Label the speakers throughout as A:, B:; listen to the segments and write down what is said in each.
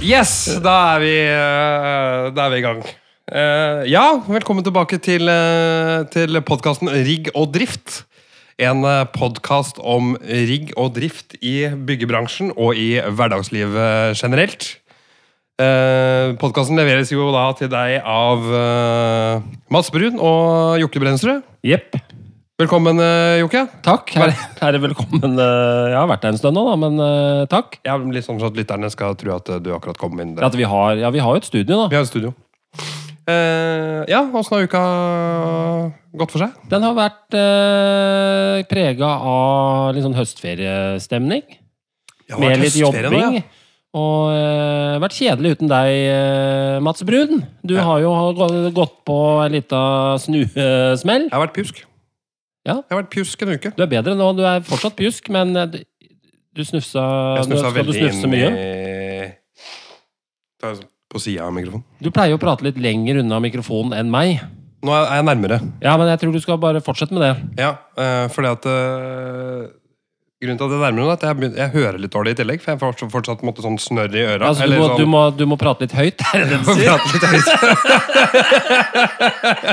A: Yes, da er vi, eh, da er vi i gang. Eh, ja, velkommen tilbake til, eh, til podkasten Rigg og drift. En podkast om rigg og drift i byggebransjen og i hverdagslivet generelt. Eh, podkasten leveres jo da til deg av eh, Mads Brun og Jokke Brensrud.
B: Jepp.
A: Velkommen, eh, Jokke.
B: Takk. Her er det velkommen. eh, Jeg har vært her en stund nå, da, men eh, takk.
A: Ja, litt sånn at lytterne skal tro at eh, du akkurat kom inn.
B: At vi har, ja, vi har jo et studio,
A: Vi
B: da.
A: har et studio. Eh, ja, åssen har uka gått for seg?
B: Den har vært eh, prega av litt sånn høstferiestemning. Med litt jobbing. Og eh, vært kjedelig uten deg, eh, Mats Brun. Du
A: Ja.
B: har jo gå- gått på en lita snuesmell.
A: Jeg har vært pjusk.
B: Ja.
A: Jeg har vært pjusk en uke.
B: Du er bedre nå. Du er fortsatt pjusk, men eh, du- du snufsa,
A: Jeg
B: nå
A: snufsa
B: skal du
A: veldig
B: snufse
A: inn i
B: mye.
A: Ta en sånn På sida av mikrofonen.
B: Du pleier å prate litt lenger unna mikrofonen enn meg.
A: Nå er jeg nærmere.
B: Ja, men jeg tror du skal bare fortsette med det.
A: Ja, eh, fordi at eh, Grunnen til at jeg nærmer meg, nå er at jeg, begyn- jeg hører litt dårlig i tillegg. For jeg får fortsatt, fortsatt måtte sånn snørr i øra.
B: Altså, du,
A: eller
B: må,
A: sånn-
B: du, må, du må prate litt høyt. Er det det du
A: Får
B: sier?
A: prate litt høyt.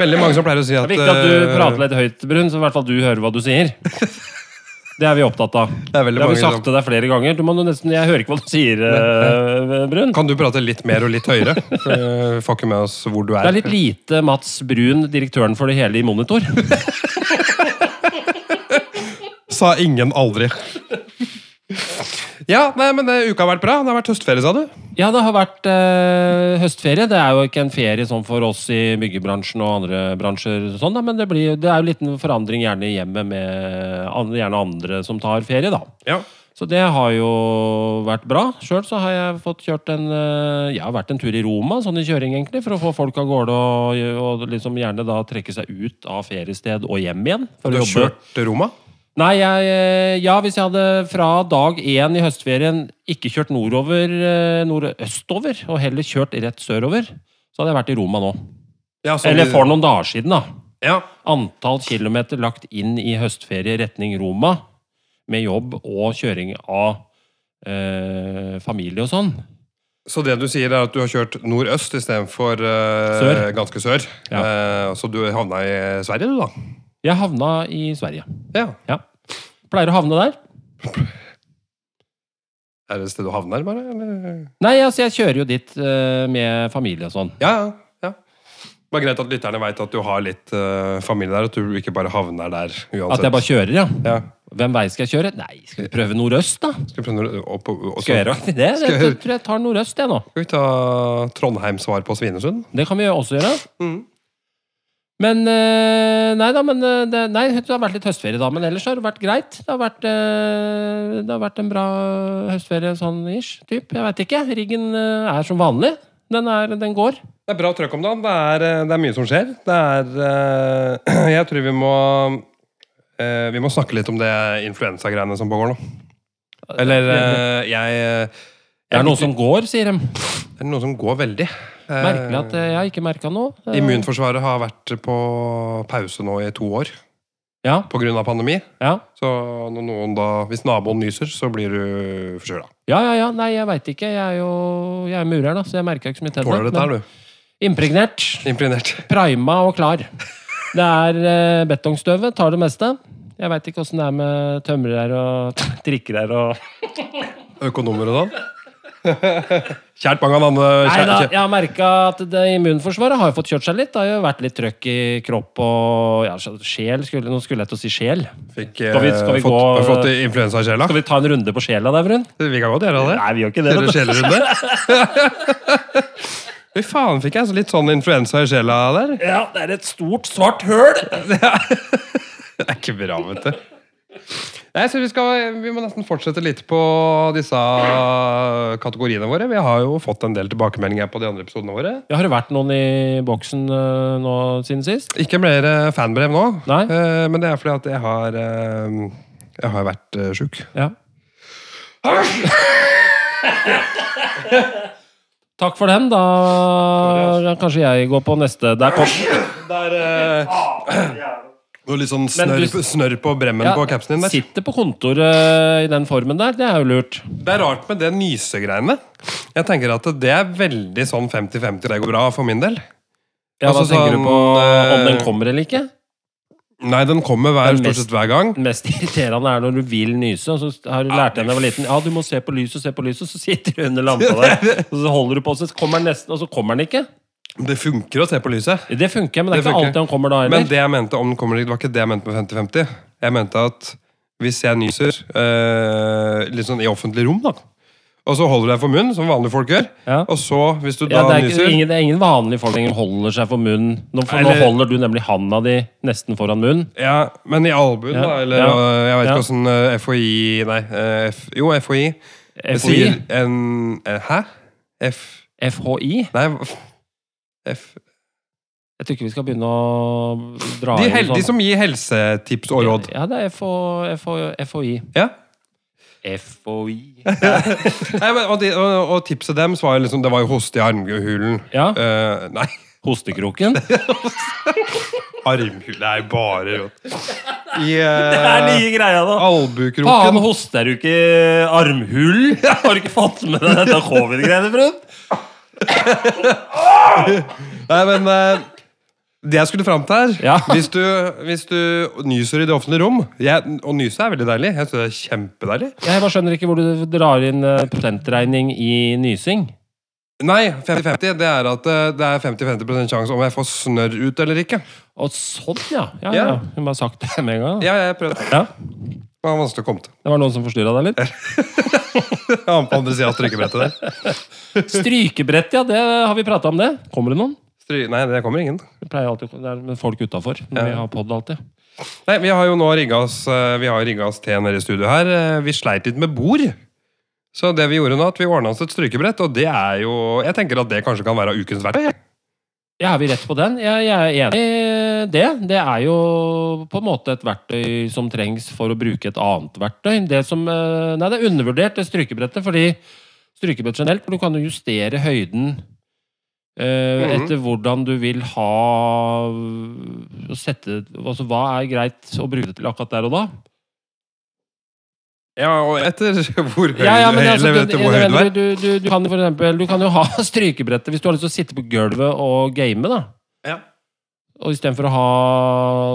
A: Veldig mange som pleier å si at
B: Det er viktig at du
A: eh,
B: prater litt høyt, Brun, så i hvert fall du hører hva du sier. Det er vi opptatt av. Det
A: er veldig
B: har vi
A: mange
B: sagt til deg flere ganger. Du må nå nesten, jeg hører ikke hva du sier, eh, Brun.
A: Kan du prate litt mer og litt høyere? For eh, vi får ikke med oss hvor du er.
B: Det er litt lite Mats Brun, direktøren for det hele i Monitor.
A: Sa ingen aldri. Ja, nei, men det, uka har vært bra. Det har vært høstferie, sa du?
B: Ja, det har vært eh, høstferie. Det er jo ikke en ferie sånn for oss i byggebransjen og andre bransjer, og sånn, da, men det, blir, det er jo en liten forandring gjerne i hjemmet med an- gjerne andre som tar ferie, da.
A: Ja.
B: Så det har jo vært bra. Sjøl så har jeg fått kjørt en eh, Jeg har vært en tur i Roma, sånn i kjøring, egentlig, for å få folk av gårde og, og liksom gjerne da trekke seg ut av feriested og hjem igjen. For
A: Du har
B: å jobbe.
A: kjørt til Roma?
B: Nei, jeg eh, Ja, hvis jeg hadde fra dag én i høstferien ikke kjørt nordover, eh, nordøstover, og heller kjørt rett sørover, så hadde jeg vært i Roma nå.
A: Ja, så
B: Eller
A: du-
B: for noen dager siden, da.
A: Ja.
B: Antall kilometer lagt inn i høstferie retning Roma med jobb og kjøring av eh, familie og sånn.
A: Så det du sier, er at du har kjørt nordøst istedenfor uh,
B: Sør.
A: ganske sør? Eh, så du havna i eh, Sverige, du, da?
B: Jeg havna i Sverige.
A: Ja.
B: Ja. Pleier å havne der.
A: Er det et sted du havner, bare? Eller?
B: Nei, altså jeg kjører jo dit eh, med familie og sånn.
A: Ja, ja. ja. Bare greit at lytterne veit at du har litt eh, familie der, at du ikke bare havner der uansett.
B: At jeg bare kjører, ja.
A: ja.
B: Hvem vei skal jeg kjøre? Nei, skal vi prøve nordøst, da?
A: Skal vi prøve å- opp, opp, opp,
B: Skal jeg gjøre det? Jeg,
A: Skal jeg-
B: jeg tror jeg tar nordøst, jeg nå.
A: Skal vi ta Trondheim-svar på Svinesund?
B: Det kan vi jo også gjøre.
A: Mhm.
B: Men eh, Nei da, men eh, det, nei, det har vært litt høstferie, da. Men ellers har det vært greit. Det har vært, eh, det har vært en bra høstferie sånn ish. Typ. Jeg veit ikke. Riggen eh, er som vanlig. Den, er, den går.
A: Det er bra trøkk om dagen. Det er, eh, det er mye som skjer. Det er eh, Jeg tror vi må eh, Vi må snakke litt om det influensagreiene som pågår nå. Eller eh, jeg eh,
B: Det er noe som går, sier de.
A: Det er noe som går veldig. Eh,
B: Merkelig at eh, jeg har ikke merka noe. Eh,
A: Immunforsvaret har vært på pause nå i to år
B: Ja,
A: pga. pandemi.
B: ja.
A: Så når noen da, hvis naboen nyser, så blir du forkjøla.
B: Ja, ja, ja. Nei, jeg veit ikke. Jeg er jo jeg er murer, da, så jeg merka ikke så mye til
A: Tåler dette
B: det.
A: her, du.
B: Men impregnert,
A: Imprinert.
B: prima og klar. Det er eh, betongstøvet, tar det meste. Jeg veit ikke åssen det er med tømrer og trikker her og
A: Økonomer og sånn. Kjært mange av andre
B: Nei
A: kjæ-
B: da,
A: kjæ-
B: jeg har merka at det immunforsvaret har jo fått kjørt seg litt. Det har jo vært litt trøkk i kropp og ja, sjel skulle, Nå skulle jeg til å si sjel.
A: Fikk, eh,
B: Skal vi- skal vi
A: fått,
B: gå-
A: har fått influensakjela?
B: Skal vi ta en runde på sjela der, Brun?
A: Vi kan godt gjøre det.
B: Nei, vi gjør ikke det.
A: Kjøre
B: vet du.
A: sjelerunde. Fy faen, fikk jeg så litt sånn influensa i sjela der.
B: Ja, det er et stort, svart høl!
A: Det er ikke bra, vet du. Nei, så vi, skal, vi må nesten fortsette litt på disse kategoriene våre. Vi har jo fått en del tilbakemeldinger på de andre episodene våre.
B: Ja, har det vært noen i boksen eh, nå siden sist?
A: Ikke mer eh, fanbrev nå,
B: Nei.
A: eh, men det er fordi at jeg har, eh, jeg har vært eh, sjuk.
B: Ja. Takk for den. Da kanskje jeg går på neste. Der kom
A: Der, eh, Og litt sånn
B: Men
A: snørr,
B: du-
A: snørr på bremmen
B: Ja,
A: på capsen din. Der.
B: Sitter på kontoret eh, i den formen der, det er jo lurt.
A: Det er rart med det nysegreiene. Jeg tenker at det er veldig sånn 50-50, det går bra for min del.
B: Ja, Hva
A: Altså,
B: tenker
A: sånn,
B: du på om den
A: eh,
B: kommer eller ikke?
A: Nei, den kommer hver,
B: Den mest-
A: stort sett hver gang.
B: Det mest irriterende er når du vil nyse, og så har du lært deg da jeg var liten Ja, du må se på lyset, se på lyset, så sitter du under lampa der, og så holder du på, så kommer den nesten, og så kommer den ikke.
A: Det funker å se på lyset.
B: Det funker, men det er
A: Det
B: ikke
A: funker.
B: alltid han kommer da
A: Men
B: heller.
A: det jeg mente om den kommer dit, var ikke det jeg mente med 50-50. Jeg mente at hvis jeg nyser eh, litt sånn i offentlig rom, da og så holder du deg for munnen, som vanlige folk gjør.
B: Ja.
A: Og så, hvis du da
B: Ja, det, er ikke,
A: nyser
B: ingen, det er ingen vanlige folk lenger holder seg for munnen. Nå, for
A: Eller-
B: nå holder du nemlig handa di nesten foran munnen.
A: ja, Men i albuen,
B: Ja.
A: da. Eller
B: Ja.
A: øh, jeg vet
B: Ja.
A: ikke hvordan øh, FHI Nei, øh, F, jo, FHI. Det
B: FHI?
A: sier en eh, Hæ? F
B: FHI?
A: Nei, f, F
B: Jeg tror ikke vi skal begynne å dra
A: de,
B: inn
A: hel, de
B: sånn-
A: som gir helsetips og råd.
B: Ja, det er FH, FHI.
A: Ja.
B: FHI.
A: Nei, men, og, de, og, og tipset deres var jo liksom Det var jo hoste i armhulen.
B: Ja.
A: Eh, nei,
B: Hostekroken.
A: armhule er jo bare rått. I
B: Det er
A: eh,
B: nye greia, da. Faen,
A: albukroken.
B: hoster du ikke i armhull? Har du ikke fått med deg dette covid-greiene, Brun?
A: Nei, men eh, det jeg skulle fram til her
B: Ja.
A: hvis, du, hvis du nyser i det offentlige rom jeg, Og nyse er veldig deilig. Jeg synes det er kjempedeilig.
B: Jeg bare skjønner ikke hvor du drar inn eh, prosentregning i nysing.
A: Nei, 50-50 det er at eh, det er 50-50 sjanse om jeg får snørr ut eller ikke.
B: Og sånn, ja. Ja, ja.
A: Ja.
B: Hun bare sagt det med en gang. da.
A: Ja, jeg prøvde.
B: Ja.
A: Det var vanskelig å komme til.
B: Det var noen som forstyrra deg litt?
A: Han på andre siden av strykebrettet der.
B: Strykebrett, ja. det Har vi prata om det? Kommer det noen?
A: Stry nei, det kommer ingen.
B: Det pleier alltid å- Det er folk utafor.
A: Ja.
B: Vi har podd alltid.
A: Nei, Vi har jo nå rigga oss eh, Vi har rigga oss til nede i studio her. Eh, Vi sleit litt med bord. Så det vi gjorde nå, at vi ordna oss et strykebrett, og det er jo Jeg tenker at det kanskje kan være ukens verktøy.
B: Ja, Er vi rett på den? Jeg, jeg er enig i det. Det er jo på en måte et verktøy som trengs for å bruke et annet verktøy. Det som, eh, nei, det er undervurdert, det strykebrettet, fordi strykebrett generelt, du kan jo justere høyden eh,
A: Mhm.
B: etter hvordan du vil ha å sette, altså Hva er greit å bruke det til akkurat der og da?
A: Ja, og etter hvor høy
B: Ja, ja, men
A: du
B: altså,
A: eller
B: du,
A: vet du hvor høy du er.
B: du, du, du, kan for eksempel, du kan jo ha strykebrettet hvis du har lyst til å sitte på gulvet og game, da.
A: Ja.
B: Og istedenfor å ha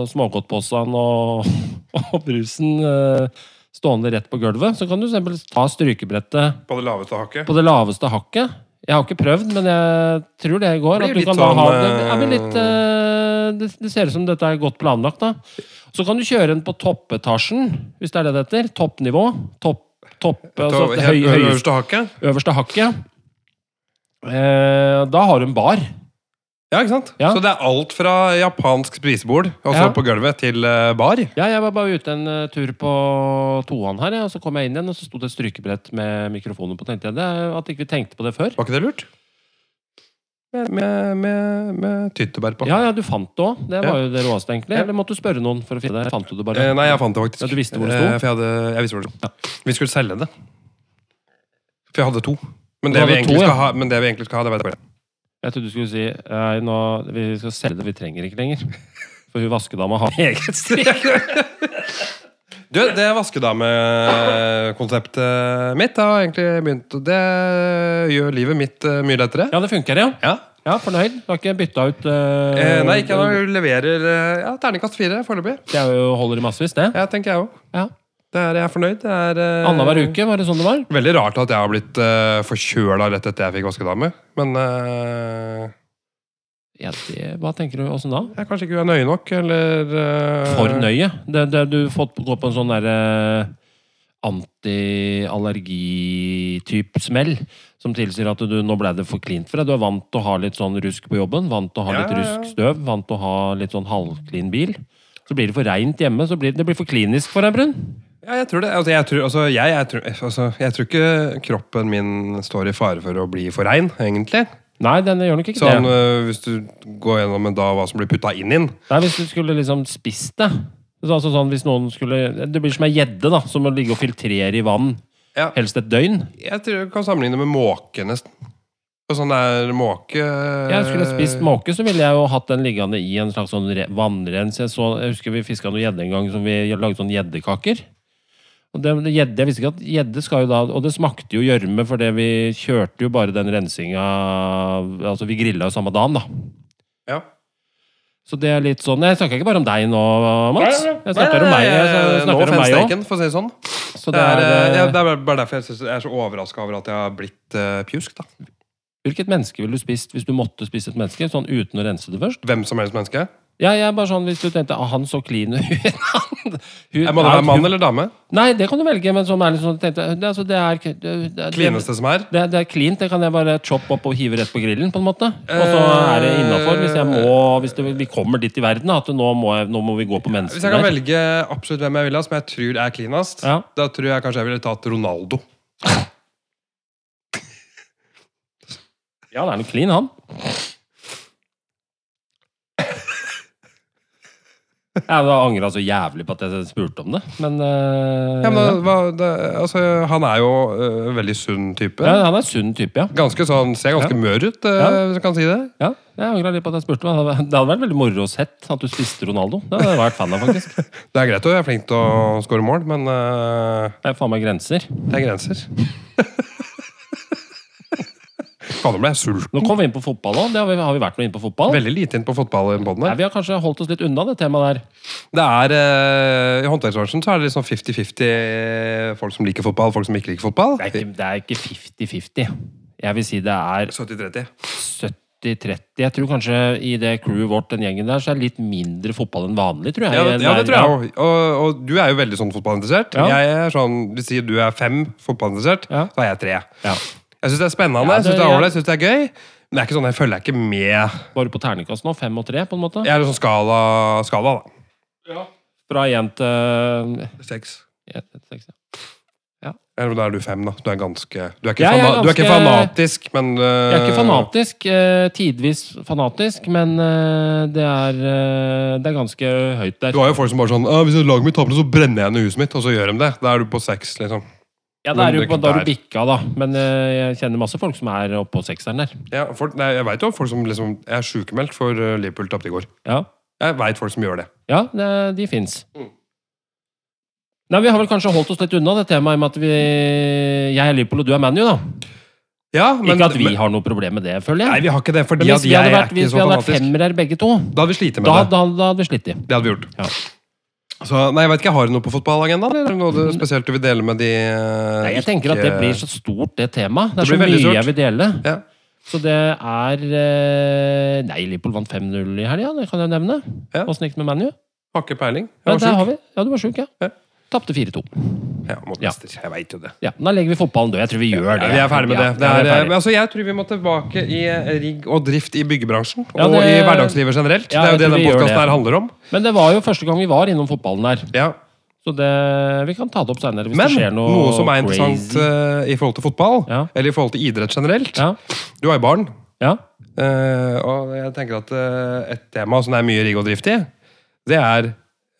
B: smågodtposene og, og brusen eh, stående rett på gulvet, så kan du for eksempel ta strykebrettet
A: På det laveste hakket.
B: på det laveste hakket. Jeg har ikke prøvd, men jeg tror det
A: Blir
B: går. At du
A: litt
B: kan da
A: sånn,
B: ha det, det,
A: eh,
B: blir litt, eh, det, det ser ut som dette er godt planlagt, da. Så kan du kjøre den på toppetasjen, hvis det er det det heter. Toppnivå. Topp, topp, altså,
A: På
B: det
A: helt
B: høy, høyeste
A: øverste hakket.
B: øverste hakket. Eh, da har du en bar.
A: Ja, ikke sant?
B: Ja.
A: Så det er alt fra japansk spisebord, altså
B: Ja.
A: på gulvet, til eh, bar.
B: Ja, jeg var bare ute en eh, tur på toan her, ja, og så kom jeg inn igjen, og så sto det et strykebrett med mikrofoner på. Tenkte jeg det, er at ikke vi tenkte på det før.
A: Var ikke det lurt? Med, med, med, med tyttebær på.
B: Ja, ja, du fant det òg. Det var
A: Ja.
B: jo det råeste, egentlig. Eller måtte du spørre noen for å finne det? Fant du det bare?
A: Eh, Nei, jeg fant det faktisk.
B: Ja, du visste hvor det sto?
A: Eh, For jeg, hadde, jeg visste hvor det sto. Vi skulle selge det. For jeg hadde to. Men
B: Du
A: det,
B: hadde
A: vi egentlig
B: to, ja.
A: skal ha, men det vi egentlig skal ha, det vet jeg ikke.
B: Jeg trodde du skulle si Nei, nå, vi skal selge det, vi trenger ikke lenger. For hun vaskedama har eget stryk.
A: Du, det vaskedamekonseptet mitt har egentlig begynt og Det gjør livet mitt eh, mye lettere.
B: Ja, det funker, ja.
A: Ja.
B: Ja, Fornøyd? Du har ikke bytta ut eh,
A: Eh, nei, ikke ennå. Jeg Leverer eh, ja, terningkast fire foreløpig.
B: Det er jo, holder i massevis, det.
A: Ja, tenker jeg òg.
B: Ja.
A: Jeg er fornøyd. Det er eh,
B: Annenhver uke, var det sånn det var?
A: Veldig rart at jeg har blitt uh, forkjøla rett etter jeg fikk vaskedame. Men eh,
B: Ja, det, hva tenker du? Åssen da?
A: jeg er kanskje ikke nøye nok, eller eh,
B: For nøye. Det, det, du får gå på en sånn derre anti-allergityp-smell. Som tilsier at du, nå ble det for klint for deg. Du er vant til å ha litt sånn rusk på jobben. Vant til å ha
A: Ja,
B: litt
A: ja, ja.
B: rusk støv. Vant til å ha litt sånn halvklin bil. Så blir det for reint hjemme. Så blir det, det blir for klinisk for deg, Brun.
A: Ja, jeg tror det. Altså, jeg, tror, altså, jeg, jeg, tror, altså, jeg tror ikke kroppen min står i fare for å bli for rein, egentlig.
B: Nei, den gjør nok ikke
A: Sånn,
B: det.
A: øh, Hvis du går gjennom en dag hva som blir putta inn i den.
B: Nei, hvis du skulle liksom spist det. Så, altså sånn hvis noen skulle Det blir som ei gjedde, da. Som å ligge og filtrere i vann.
A: Ja.
B: Helst et døgn.
A: Jeg tror jeg kan sammenligne med måke, nesten. Og sånn der måke
B: Jeg skulle
A: Eh.
B: spist måke, så ville jeg jo hatt den liggende i en slags sånn re- vannrens. Jeg, så, jeg husker vi fiska noe gjedde en gang som vi lagde sånn gjeddekaker. Og det, det, gjedde- jeg visste ikke at gjedde skal jo da Og det smakte jo gjørme, for det vi kjørte jo bare den rensinga Altså, vi grilla jo samme dagen, da.
A: Ja.
B: Så det er litt sånn Jeg snakker ikke bare om deg nå, Mats.
A: Nei, nei, nei.
B: Jeg snakker om
A: Nei, nei,
B: meg. Jeg
A: jeg-
B: snakker
A: Nå
B: om meg også.
A: fenstreken, for å si det sånn.
B: Så
A: Det er, eh, ja,
B: eh,
A: det er bare derfor jeg synes jeg er så overraska over at jeg har blitt eh, pjusk. da
B: Hvilket menneske ville du spist hvis du måtte spise et menneske? Sånn uten å rense det først?
A: Hvem som helst menneske.
B: Ja, jeg er bare sånn Hvis du tenkte ah, han så clean ut han- hun-
A: Eh, Må det
B: han-
A: være mann eller dame?
B: Nei, det kan du velge, men sånn er litt sånn tenkte, jeg, det, altså, det er det, det, det,
A: Klineste som er?
B: det, er cleant. Det kan jeg bare choppe opp og hive rett på grillen, på en måte. Og så
A: Eh,
B: er det innafor hvis jeg må Hvis det, vi kommer dit i verden at nå må, jeg, nå må vi gå på
A: Hvis jeg kan
B: menneskene.
A: velge absolutt hvem jeg vil ha, som jeg tror er cleanest,
B: Ja.
A: da tror jeg kanskje jeg ville tatt Ronaldo.
B: Ja, han er noe clean, han. Jeg angra så jævlig på at jeg spurte om det, men, eh,
A: Ja, men, hva, det, altså, han er jo øh, veldig sunn type.
B: ja, Han er en sunn type, ja.
A: Ganske sånn, Ser ganske mør ut, øh,
B: Ja.
A: hvis du kan si det.
B: Ja, jeg angrer litt på at jeg spurte. men Det hadde- det hadde vært veldig moro å sett at du spiste Ronaldo. Det hadde jeg vært fan av, faktisk. Det
A: Det er greit å være flink til å score mål, men øh,
B: er faen meg grenser.
A: det er grenser. Fader, ble jeg sulten.
B: Nå kom vi inn på fotball òg. Har, vi- har vi vært noe inn på fotball?
A: Veldig lite inn på fotball i den podden
B: Nei,
A: her.
B: vi har kanskje holdt oss litt unna det temaet der.
A: Det er, øh, I håndverksbransjen så er det liksom 50-50 folk som liker fotball, folk som ikke liker fotball.
B: Det er ikke- det er ikke 50-50. Jeg vil si det er
A: 70-30.
B: 70-30. Jeg tror kanskje i det crewet vårt, den gjengen der, så er det litt mindre fotball enn vanlig, tror jeg.
A: Ja, det, ja, det tror
B: Ja.
A: jeg òg. Og, og du er jo veldig sånn fotballinteressert.
B: Ja.
A: Jeg er sånn, Hvis du sier du er fem fotballinteressert,
B: Ja.
A: så er jeg tre.
B: Ja.
A: Jeg syns det er spennende,
B: Ja,
A: jeg synes
B: det-
A: det er ålreit, jeg synes det er gøy. Men det er ikke sånn, jeg følger jeg ikke med.
B: Bare på terningkast nå. Fem og tre, på en måte.
A: Jeg er sånn skala, skala da.
B: Fra én til
A: Seks.
B: én til seks. ja.
A: Ja, men Da er du fem, da. Du er ganske Du er ikke,
B: Jeg er
A: fana, du er ikke
B: ganske-
A: fanatisk, men eh,
B: Jeg er ikke fanatisk. Eh, tidvis fanatisk, men eh, det, er, eh, det er ganske høyt der.
A: Du har jo folk som bare sånn «Å, 'Hvis laget mitt taper, nå, så brenner jeg ned huset mitt.' Og så gjør de det. Da er du på seks, liksom.
B: Ja, det er
A: men
B: jo
A: det
B: på,
A: er
B: Da
A: ikke
B: har du bikka, da. Men eh, jeg kjenner masse folk som er oppå sekseren der.
A: Ja, folk, nei, jeg veit jo folk som liksom Jeg er sjukmeldt for eh, Liverpool tapte i går.
B: Ja,
A: Jeg veit folk som gjør det.
B: ja det, de fins.
A: Mm.
B: Nei, Vi har vel kanskje holdt oss litt unna det temaet i og med at vi, jeg er Liverpool og du er ManU. da.
A: Ja, men,
B: ikke at vi
A: men,
B: har noe problem med det, føler
A: Nei,
B: jeg.
A: vi har ikke det, fordi
B: Mm. Men
A: at
B: hvis vi
A: jeg
B: hadde
A: er
B: vært,
A: ikke
B: hvis
A: så
B: vi hadde vært
A: fanatisk.
B: femere begge to,
A: Da hadde vi slitt med
B: da,
A: det.
B: da, da hadde vi slitt. i.
A: Det hadde vi gjort.
B: Ja.
A: Så, nei, Jeg vet ikke, Har du noe på fotballagendaen? Eller noe du spesielt du vil dele med de eh,
B: Mm. Nei, jeg tenker at det
A: ikke-
B: blir så stort, det temaet. Det
A: Det
B: er så
A: blir veldig
B: mye
A: stort.
B: jeg vil dele.
A: Ja.
B: Så det er eh, Nei, Liverpool vant 5-0 i helga, det kan jeg nevne.
A: Ja.
B: Åssen gikk det med ManU?
A: Har ikke peiling.
B: Ja,
A: Jeg var
B: der
A: sjuk.
B: har vi. Ja, du var sjuk, ja.
A: Ja.
B: Tapte 4-2.
A: Ja, mot
B: Ja.
A: Leicester. Jeg veit jo det.
B: Ja, men da legger vi fotballen død. Jeg tror vi gjør det.
A: Ja, vi er ferdig med
B: Ja,
A: det. det er,
B: vi
A: eh,
B: ferdig.
A: men altså, jeg tror vi må tilbake i eh, rigg og drift i byggebransjen.
B: Ja,
A: Og
B: det-
A: i hverdagslivet generelt.
B: Ja,
A: det er jo
B: jeg
A: det
B: tror
A: den
B: vi gjør det.
A: podkasten her handler om.
B: men det var jo første gang vi var innom fotballen her.
A: Ja.
B: Så det, vi kan ta det opp senere hvis
A: Men
B: det skjer
A: noe,
B: noe
A: som er interessant
B: crazy.
A: eh, i forhold til fotball,
B: Ja.
A: eller i forhold til idrett generelt
B: Ja,
A: Du har jo barn.
B: ja.
A: Eh, og jeg tenker at eh, et tema som det er mye rigg og drift i, det er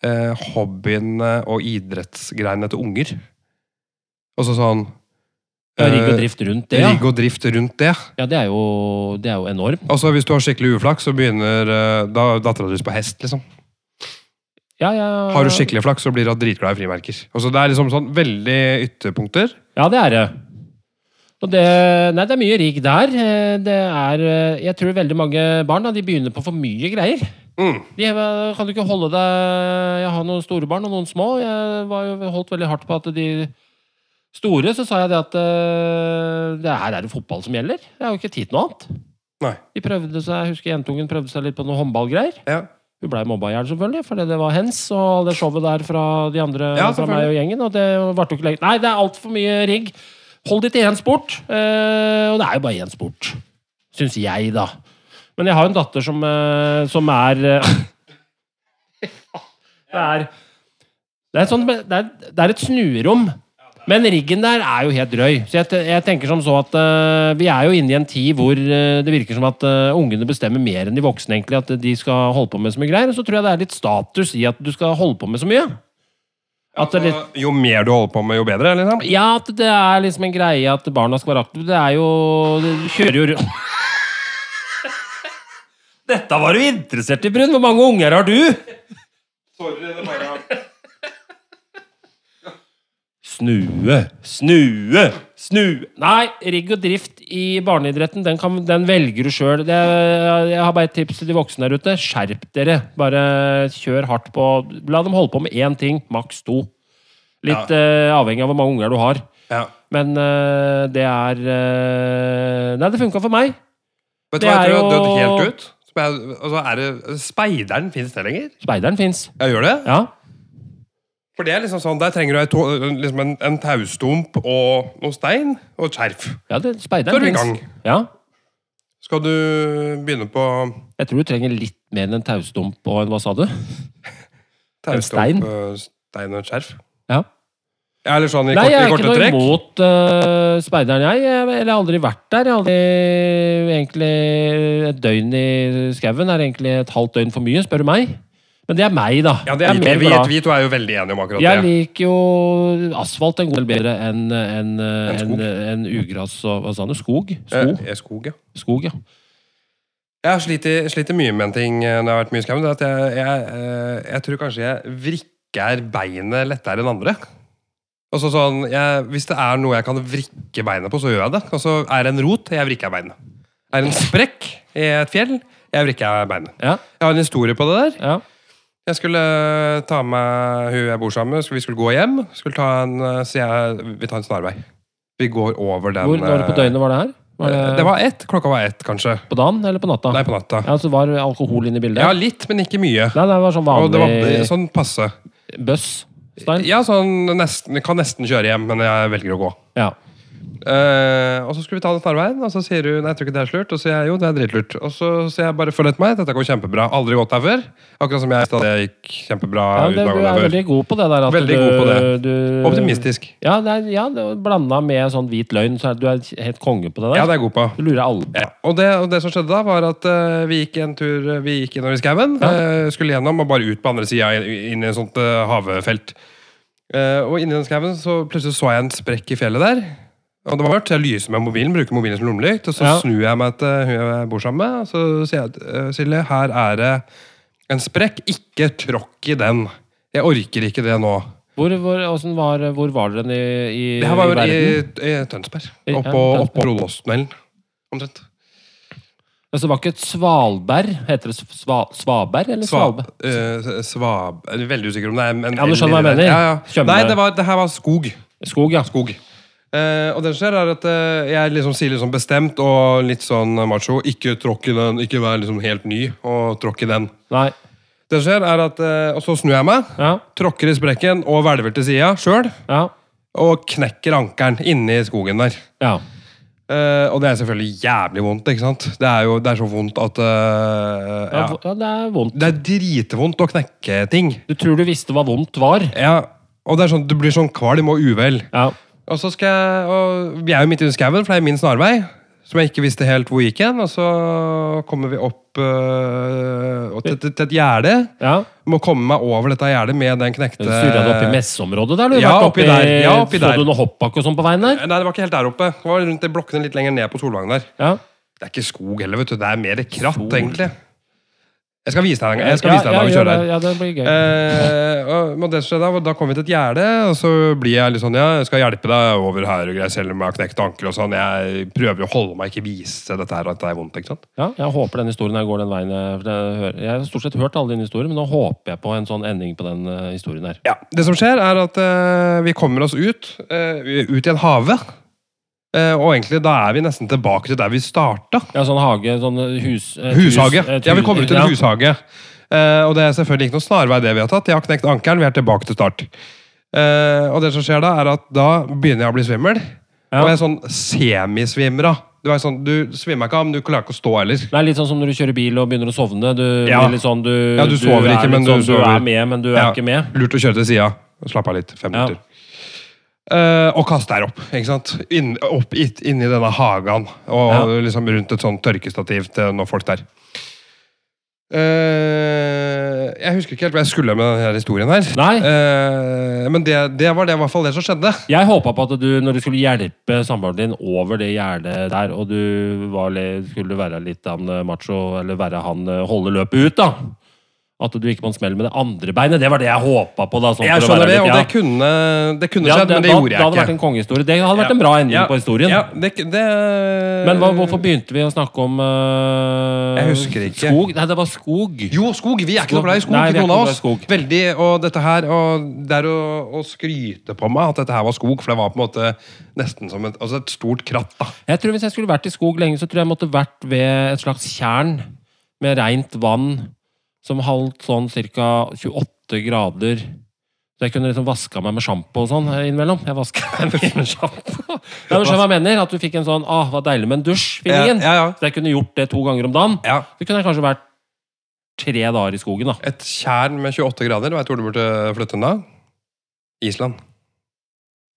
A: uh, hobbyene og idrettsgreiene til unger. Og så sånn
B: ja Rigg og
A: eh,
B: drift rundt det, ja.
A: rigg og drift rundt det.
B: ja det, er jo, det er jo enormt.
A: Og så hvis du har skikkelig uflaks, så begynner eh, da dattera di på hest, liksom.
B: Ja, ja.
A: Har du skikkelig flaks, så blir hun dritglad i frimerker. Og så det er liksom sånn veldig ytterpunkter.
B: Ja, det er det. Og det, nei, det er mye rigg der. Eh, Det er, eh, jeg tror veldig mange barn da, de begynner på for mye greier.
A: Mm.
B: De eh, kan du ikke holde deg Jeg har noen store barn og noen små. Jeg var jo holdt veldig hardt på at de store så sa jeg det at eh, det her er det fotball som gjelder. Det er jo ikke tid til noe annet.
A: Nei.
B: De prøvde seg, jeg husker Jentungen prøvde seg litt på noen håndballgreier.
A: Ja.
B: Hun blei mobba i hjel, selvfølgelig, fordi det var hens og all det showet der fra de andre
A: Ja,
B: fra meg og gjengen. Og det varte jo ikke lenge. Nei, det er altfor mye rigg. Hold deg til én sport. Eh, og det er jo bare én sport. Syns jeg, da. Men jeg har jo en datter som, eh, som er eh, Det er det er, et sånt, det, er, det er et snurom. Men riggen der er jo helt drøy. Så jeg, te- jeg tenker som så at eh, vi er jo inne i en tid hvor eh, det virker som at eh, ungene bestemmer mer enn de voksne, egentlig. At de skal holde på med så mye greier. Og så tror jeg det er litt status i at du skal holde på med så mye. At det litt,
A: Altså, Jo mer du holder på med, jo bedre? Liksom.
B: ja, at det er liksom en greie at barna skal være aktive. Det er jo Du kjører jo rundt Dette var du interessert i, Brun. Hvor mange unger har du?
A: Sorry, det bare
B: Snue, snue, snu Nei, rigg og drift i barneidretten, den, kan, den velger du sjøl. Jeg har bare et tips til de voksne der ute. Skjerp dere. Bare kjør hardt på La dem holde på med én ting, maks to. Litt eh, avhengig av hvor mange unger du har.
A: ja.
B: Men eh, det er eh, Nei, det funka for meg.
A: Vet du
B: Det
A: hva jeg
B: er
A: tror har dødd
B: jo-
A: helt ut? Som jeg- Altså, er det, speideren fins det lenger?
B: Speideren fins.
A: Ja, gjør det?
B: Ja.
A: For det er liksom sånn, Der trenger du ei to- liksom en, en taustump og noe stein og et skjerf.
B: ja det,
A: Så er
B: speideren
A: vi i
B: fins.
A: gang.
B: Ja.
A: Skal du begynne på
B: Jeg tror du trenger litt mer enn en taustump og en Hva sa du? En stein?
A: taustump, øh, stein og et skjerf?
B: Ja.
A: Ja, Eller sånn i,
B: Nei,
A: kort,
B: jeg
A: i
B: er ikke
A: korte
B: noe
A: trekk?
B: imot eh, speideren, jeg. Jeg jeg har aldri vært der. Jeg har aldri egentlig Et døgn i skauen er egentlig et halvt døgn for mye, spør du meg. Men det er meg, da.
A: Ja, det
B: Jeg
A: er vi,
B: mer
A: vi,
B: glad-
A: vi to er jo veldig enige om akkurat
B: jeg
A: det.
B: liker jo asfalt en god del bedre enn enn, eh,
A: skog.
B: enn- enn ugras og hva sa du? Skog? Sko?
A: Eh, eh, skog, ja.
B: Skog, ja.
A: Jeg har sliter, sliter mye med en ting eh, når jeg har vært mye i skauen. det er At jeg, jeg, eh, jeg tror kanskje jeg vrikker beinet lettere enn andre. Altså sånn, jeg, Hvis det er noe jeg kan vrikke beinet på, så gjør jeg det. Altså, Er det en rot, jeg vrikker beinet. Er det en sprekk i et fjell, jeg vrikker beinet.
B: Ja,
A: Jeg har en historie på det der.
B: ja.
A: Jeg skulle eh, ta med hun jeg bor sammen med. skulle- Vi skulle gå hjem. Skulle ta en, eh, så jeg, vi tar en snarvei. Vi går over den
B: Hvor, når på
A: eh,
B: døgnet var det her? Var det,
A: Det var ett. Klokka var ett, kanskje.
B: På dagen eller på natta?
A: Nei, på natta.
B: Ja, Så var det alkohol inne i bildet?
A: Ja, litt, men ikke mye.
B: Nei, det var sånn
A: Og det var
B: vanlig
A: sånn passe.
B: bøss-stein?
A: Ja, sånn nesten, kan nesten kjøre hjem, men jeg velger å gå.
B: Ja.
A: Eh, og så skulle vi ta den snarveien, og så sier hun nei, jeg tror ikke det er slurt. Og så sier jeg jo, det er dritlurt. Og så sier jeg bare følg etter meg, dette går kjempebra. Aldri gått her før. Akkurat som jeg i stad, det gikk kjempebra.
B: Ja,
A: uten
B: det,
A: å ha
B: du
A: gått
B: er
A: her før.
B: veldig god på det der. At
A: Veldig
B: du,
A: god på det.
B: Du,
A: Optimistisk.
B: Ja, det er, ja det, blanda med sånn hvit løgn, så er, du er helt konge på det der.
A: Ja, det er jeg god på.
B: Du lurer alle.
A: Ja. Og, det, og det som skjedde da, var at eh, vi gikk en tur eh, Vi gikk innover i skauen. eh, skulle gjennom og bare ut på andre sida, inn i et sånt eh, havefelt. Eh, og inni den skauen så plutselig så jeg en sprekk i fjellet der. Og det var mørkt, så jeg lyser med mobilen, bruker mobilen som lommelykt. Og så
B: Ja.
A: snur jeg meg til hun jeg bor sammen med, og så sier jeg eh, Silje, her er det en sprekk. Ikke tråkk i den. Jeg orker ikke det nå.
B: Hvor, hvor, hvordan var, hvor var dere i, i,
A: Det her var
B: i
A: jo i,
B: verden?
A: i Tønsberg.
B: I- ja,
A: Oppå,
B: Tønsberg.
A: oppå Rollåstunnelen, omtrent.
B: Altså, det var ikke et Svalberg? Heter det sva, Svaberg eller
A: Svab,
B: Svalberg?
A: eh, svab jeg er Veldig usikker om det er en
B: Ja, du skjønner hva jeg
A: en-
B: mener.
A: Ja, ja.
B: Skjønner.
A: Nei, det, var, det her var skog.
B: Skog, ja.
A: skog. Eh, og det som skjer, er at eh, jeg liksom sier liksom bestemt og litt sånn macho Ikke tråkk i den. Ikke vær liksom helt ny og tråkk i den.
B: Nei.
A: Det som skjer, er at eh, Og så snur jeg meg,
B: Ja.
A: tråkker i sprekken og hvelver til sida sjøl.
B: Ja.
A: Og knekker ankelen inni skogen der.
B: ja.
A: Eh, og det er selvfølgelig jævlig vondt. ikke sant? Det er jo det er så vondt at eh, ja.
B: Ja, vo- ja, det er vondt.
A: Det er dritvondt å knekke ting.
B: Du tror du visste hva vondt var?
A: Ja, og det er sånn, du blir sånn kvalm og uvel.
B: Ja.
A: Og så skal jeg, og vi er jo midt i skauen, for det er min snarvei, som jeg ikke visste helt hvor gikk igjen, og så kommer vi opp øh, og til, til, til et gjerde.
B: ja.
A: Må komme meg over dette gjerdet med den knekte...
B: Surra du opp i messeområdet der? Du
A: Eh, Ja,
B: Vært
A: oppi der. Ja, oppi der.
B: Så du noe hoppbakke og sånn på veien der?
A: Nei, det var ikke helt der oppe. Det var rundt de blokkene litt lenger ned på Solvangen der.
B: Ja.
A: Det er ikke skog heller, vet du. Det er mer kratt,
B: Sol.
A: egentlig. Jeg skal vise deg en gang, jeg skal vise deg en
B: ja,
A: gang vi
B: ja, gjør
A: kjører her.
B: det. Ja, det blir gøy.
A: Eh, og men det som skjedde, var- da kom vi til et gjerde, og så blir jeg litt sånn Ja, jeg skal hjelpe deg over her, og greier, selv om jeg har knekt ankel og sånn. Jeg prøver jo å holde meg, ikke vise dette her, at det er vondt. ikke sant?
B: Ja, jeg håper den historien her går den veien. eh, For jeg, hører, jeg har stort sett hørt alle dine historier, men nå håper jeg på en sånn ending på den eh, historien her.
A: Ja, Det som skjer, er at eh, vi kommer oss ut. eh, ut i en hage. Eh, og egentlig da er vi nesten tilbake til der vi starta.
B: Ja, sånn hage, sånn hus... et hus-
A: Hushage.
B: et hus-
A: Ja, vi kommer ut til en
B: ja.
A: hushage. Eh, og det er selvfølgelig ikke noen snarvei det vi har tatt. Jeg har knekt ankelen, vi er tilbake til start. Eh, og det som skjer da, er at da begynner jeg å bli svimmel.
B: Ja.
A: Og jeg er sånn semisvimmer av. Du, er sånn, du svimmer ikke av, men du klarer ikke å stå heller.
B: Det er litt sånn som når du kjører bil og begynner å sovne. Du,
A: Ja.
B: blir litt sånn, du,
A: Ja, du sover
B: er
A: ikke,
B: litt
A: men du
B: sånn, Du
A: sover.
B: er med, men du er
A: Ja.
B: ikke med.
A: Lurt å kjøre til sida. Slapp av litt. Fem
B: Ja.
A: minutter. Eh, og kaste her opp. ikke sant? Inn, opp it, inni denne hagen. Og
B: Ja.
A: liksom rundt et sånn tørkestativ til noen folk der. Eh, Jeg husker ikke helt hva jeg skulle med denne historien her.
B: Nei.
A: Eh, men det, det var det, i hvert fall det som skjedde.
B: Jeg håpa på at du, når du skulle hjelpe samboeren din over det gjerdet der, og du var, litt- skulle være litt han eh, macho, eller være han eh, holde løpet ut, da At du gikk på en smell med det andre beinet. Det var det jeg håpa på. da sånn
A: Jeg
B: for å være
A: skjønner det,
B: litt-
A: og
B: ja.
A: det kunne, det kunne
B: Ja,
A: skjedd, men det
B: da,
A: gjorde
B: da hadde
A: jeg
B: vært en
A: ikke.
B: kongehistorie. Det hadde vært en bra ending
A: Ja.
B: på historien.
A: Ja, det, det,
B: Men hva, hvorfor begynte vi å snakke om eh,
A: Jeg husker ikke.
B: skog? Nei, det var skog.
A: Jo, skog! Vi er ikke noe glad i skog,
B: Nei, vi er
A: ikke
B: ikke
A: noen
B: noe
A: av
B: glad i
A: oss.
B: skog.
A: Veldig, og dette her, og det er å, å skryte på meg at dette her var skog, for det var på en måte nesten som et, altså et stort kratt. da.
B: Jeg tror Hvis jeg skulle vært i skog lenge, så tror jeg jeg måtte vært ved et slags tjern med rent vann som holdt sånn ca. 28 grader. Så jeg kunne liksom vaska meg med sjampo og sånn innimellom. Jeg vasket meg med sjampo. Nei, men skjønner du hva jeg mener? At du fikk en sånn ah, hva deilig med en dusj-feelingen.
A: Ja, ja, ja.
B: Så jeg kunne gjort det to ganger om dagen.
A: Ja,
B: Så kunne jeg kanskje vært tre dager i skogen, da.
A: Et tjern med 28 grader, vet du hvor du burde flytte den da? Island.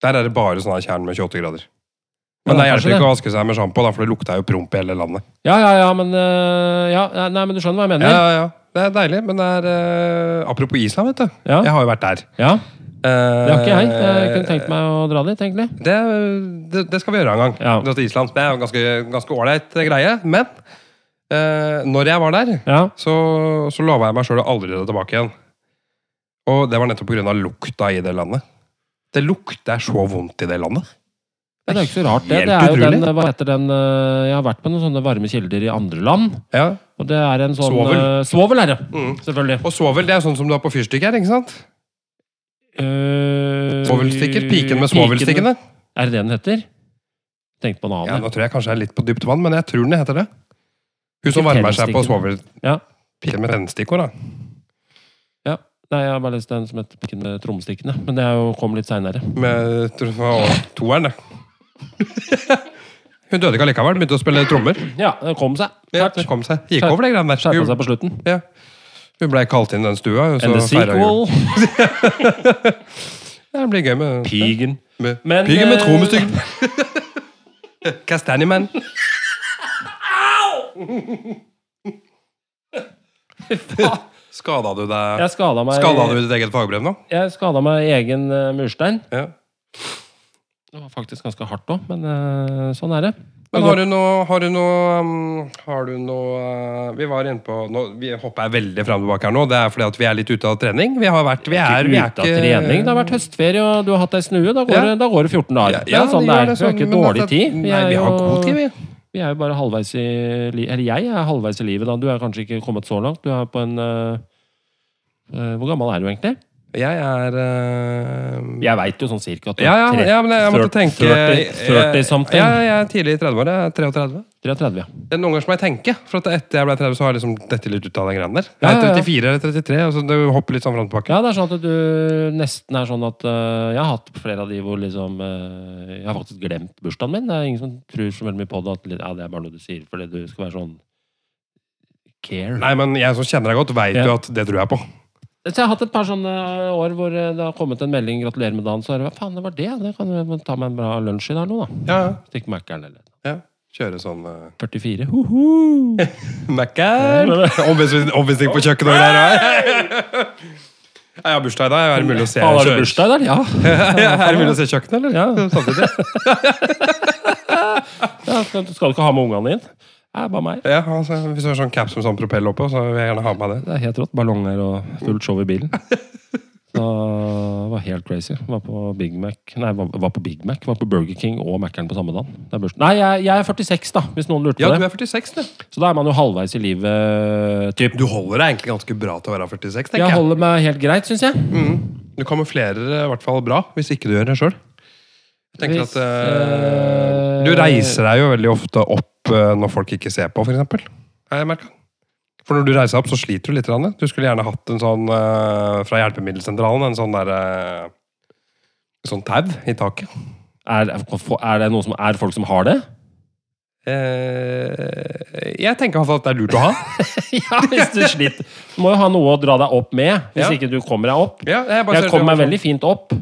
A: Der er det bare sånne tjern med 28 grader. Men
B: Ja,
A: det
B: kanskje
A: hjelper ikke å vaske seg med sjampo, da, for det lukta jo promp i hele landet.
B: Ja, ja, ja, men øh, ja, Nei, men du skjønner hva jeg
A: Ja,
B: mener?
A: ja, ja. Det er deilig, men det er eh, Apropos Island, vet du.
B: Ja.
A: Jeg har jo vært der.
B: Ja, Det har ikke jeg. Jeg kunne
A: Eh,
B: tenkt meg å dra dit, egentlig.
A: det, det, det skal vi gjøre en gang.
B: Ja.
A: Dra til Island. Det er jo en ganske ganske ålreit greie. Men eh, når jeg var der,
B: Ja.
A: så, så lova jeg meg sjøl å aldri dra tilbake igjen. Og det var nettopp pga. lukta i det landet. Det lukter så vondt i det landet.
B: Ja, det er jo ikke så rart, det.
A: Helt
B: det er jo
A: utrolig.
B: den, hva heter den øh, Jeg har vært på noen sånne varme kilder i andre land.
A: Ja.
B: Og det er en sånn
A: Svovel. Mm.
B: øh, Svovel er det, selvfølgelig.
A: Og svovel det er sånn som du har på fyrstikker. ikke sant?
B: Øh,
A: Svovelstikker, Piken med
B: piken-
A: svovelstikkene.
B: Er det det den heter? Tenkte på en
A: Ja,
B: annen.
A: nå tror jeg kanskje jeg er litt på dypt vann, men jeg tror den heter det. Hun som varmer seg på svovel...
B: Ja.
A: Piken med brennestikkord, da.
B: Nei, jeg har bare lest den som heter Piken med trommestikkene. Men det er jo, kom litt seinere.
A: Med tror jeg det var toeren, det. Hun døde ikke allikevel, begynte å spille trommer.
B: Ja, det kom seg.
A: Ja,
B: Klart.
A: det kom seg. Gikk over det greiene der.
B: Skjerpa
A: Hun-
B: seg på slutten.
A: Ja. Hun blei kalt inn i den stua. Og så
B: And the
A: feira hun.
B: sequel.
A: Ja, det blir gøy med
B: Pigen.
A: med-
B: Men,
A: Piggen med
B: eh,
A: trommestykker. Kastanjemann. Skada du deg
B: Jeg skada meg,
A: Skada du ditt eget fagbrev nå?
B: jeg skadet meg i egen eh, murstein.
A: Ja.
B: Det var faktisk ganske hardt òg, men eh, sånn er det.
A: Men har du noe Har du noe, um, har du noe uh, Vi var inne på nå, Vi hopper jeg veldig fram og tilbake her nå. Det er fordi at vi er litt ute av trening. Vi har vært Vi er, vi er
B: Ute av trening. Det har vært høstferie, og du har hatt dei snue. Da går,
A: Ja.
B: det, da går det 14 dager.
A: Ja,
B: det er sånn
A: gjør
B: det er. Vi har ikke
A: sånn, men
B: dårlig
A: at-
B: tid.
A: Nei, vi har god tid, vi.
B: Vi er jo bare halvveis i livet. Eller jeg er halvveis i livet, da. Du er kanskje ikke kommet så langt. Du er på en eh, eh, Hvor gammel er du egentlig?
A: Jeg er eh,
B: Jeg veit jo sånn cirka at du
A: ja, ja,
B: er
A: ja, men jeg, jeg måtte
B: 30
A: tenke
B: 30, 30 something.
A: Ja, jeg er tidlig i 30-åra. Jeg er 33.
B: 33.
A: Det er Noen ganger så må jeg tenke, for at etter jeg ble 30, så har jeg liksom dette litt ut av den greia der. Jeg
B: Ja,
A: er
B: ja, ja.
A: 34 eller 33, og så det hopper litt sånn fram og tilbake.
B: Ja, det er sånn at du nesten er sånn at øh, Jeg har hatt flere av de hvor liksom øh, Jeg har faktisk glemt bursdagen min. Det er ingen som tror så veldig mye på det. At ja, det er bare noe du sier fordi du skal være sånn care.
A: Nei, men jeg som kjenner deg godt, veit
B: Ja.
A: jo at det tror jeg på.
B: Så jeg har hatt et par sånne år hvor øh, det har kommet en melding 'gratulerer med dagen'. Så er det hva faen, det var det? Det kan jeg må ta meg en bra lunsj i der nå, da.
A: Ja,
B: Stikke Mækkern eller
A: ja. Kjøre sånn uh,
B: 44. Hoho!
A: Mækkern! Omvisning på kjøkkenet og greier. også. Ja, Jeg har bursdag i dag. Er det mulig å se,
B: Faen, har du bursdag i dag? Ja.
A: er det sånn mulig å se kjøkkenet, eller?
B: Ja.
A: Samtidig.
B: ja skal, du- skal du ikke ha med ungene inn? Nei, bare meg.
A: Ja, altså, hvis du har sånn caps med sånn propell oppå, så vil jeg gjerne ha med meg det.
B: Det er helt rått. Ballonger og fullt show i bilen. Så det var helt crazy. Var på Big Mac Nei, var, var på Big Mac. Var på Burger King og Mac-eren på samme dag. Det er bursdag. Nei, jeg, jeg er 46, da, hvis noen lurte
A: Ja,
B: på
A: du
B: det.
A: er 46, du.
B: Så da er man jo halvveis i livet, typ.
A: Du holder deg egentlig ganske bra til å være 46, tenker
B: Jeg
A: jeg.
B: holder meg helt greit, syns jeg.
A: Du kamuflerer Mm. det i hvert fall bra, hvis ikke du gjør det sjøl.
B: Hvis, eh,
A: Du reiser deg jo veldig ofte opp eh, når folk ikke ser på, f.eks. Har jeg merket. For når du reiser deg opp, så sliter du litt. grann. Du skulle gjerne hatt en sånn eh, fra hjelpemiddelsentralen, en sånn der eh, Sånn tau i taket.
B: Er, er det noen som er folk som har det?
A: Eh, jeg tenker i hvert fall at det er lurt å ha.
B: ja, hvis du sliter. Du må jo ha noe å dra deg opp med, hvis
A: Ja.
B: ikke du kommer deg opp.
A: Ja, jeg bare
B: Jeg
A: ser-
B: kom meg veldig fint opp.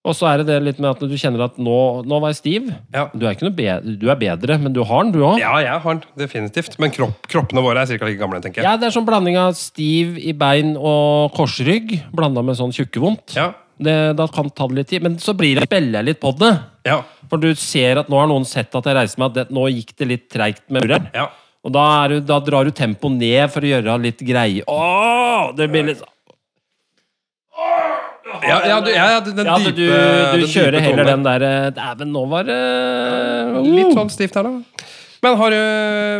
B: Og så er det det litt med at du kjenner at nå, nå var jeg stiv.
A: Ja.
B: Du er ikke noe bedre, du er bedre, men du har den, du òg.
A: Ja, jeg har den. Definitivt. Men kropp, kroppene våre er ca. like gamle, tenker jeg.
B: Ja, det er sånn blanding av stiv i bein og korsrygg, blanda med sånn tjukkevondt.
A: Ja.
B: Det, da kan det ta det litt tid. Men så blir det spiller jeg litt på det.
A: Ja.
B: For du ser at nå har noen sett at jeg reiser meg, at det, nå gikk det litt treigt med mureren.
A: Ja.
B: Og da, er du, da drar du tempoet ned for å gjøre litt greie. Åh, det blir litt... sånn.
A: Ja, ja, du, ja, ja, den
B: Ja, du,
A: dype
B: du
A: den
B: kjører
A: dype
B: heller
A: tonen.
B: den der eh, Dæven, nå var det eh,
A: Litt sånn stivt her, da. Men har du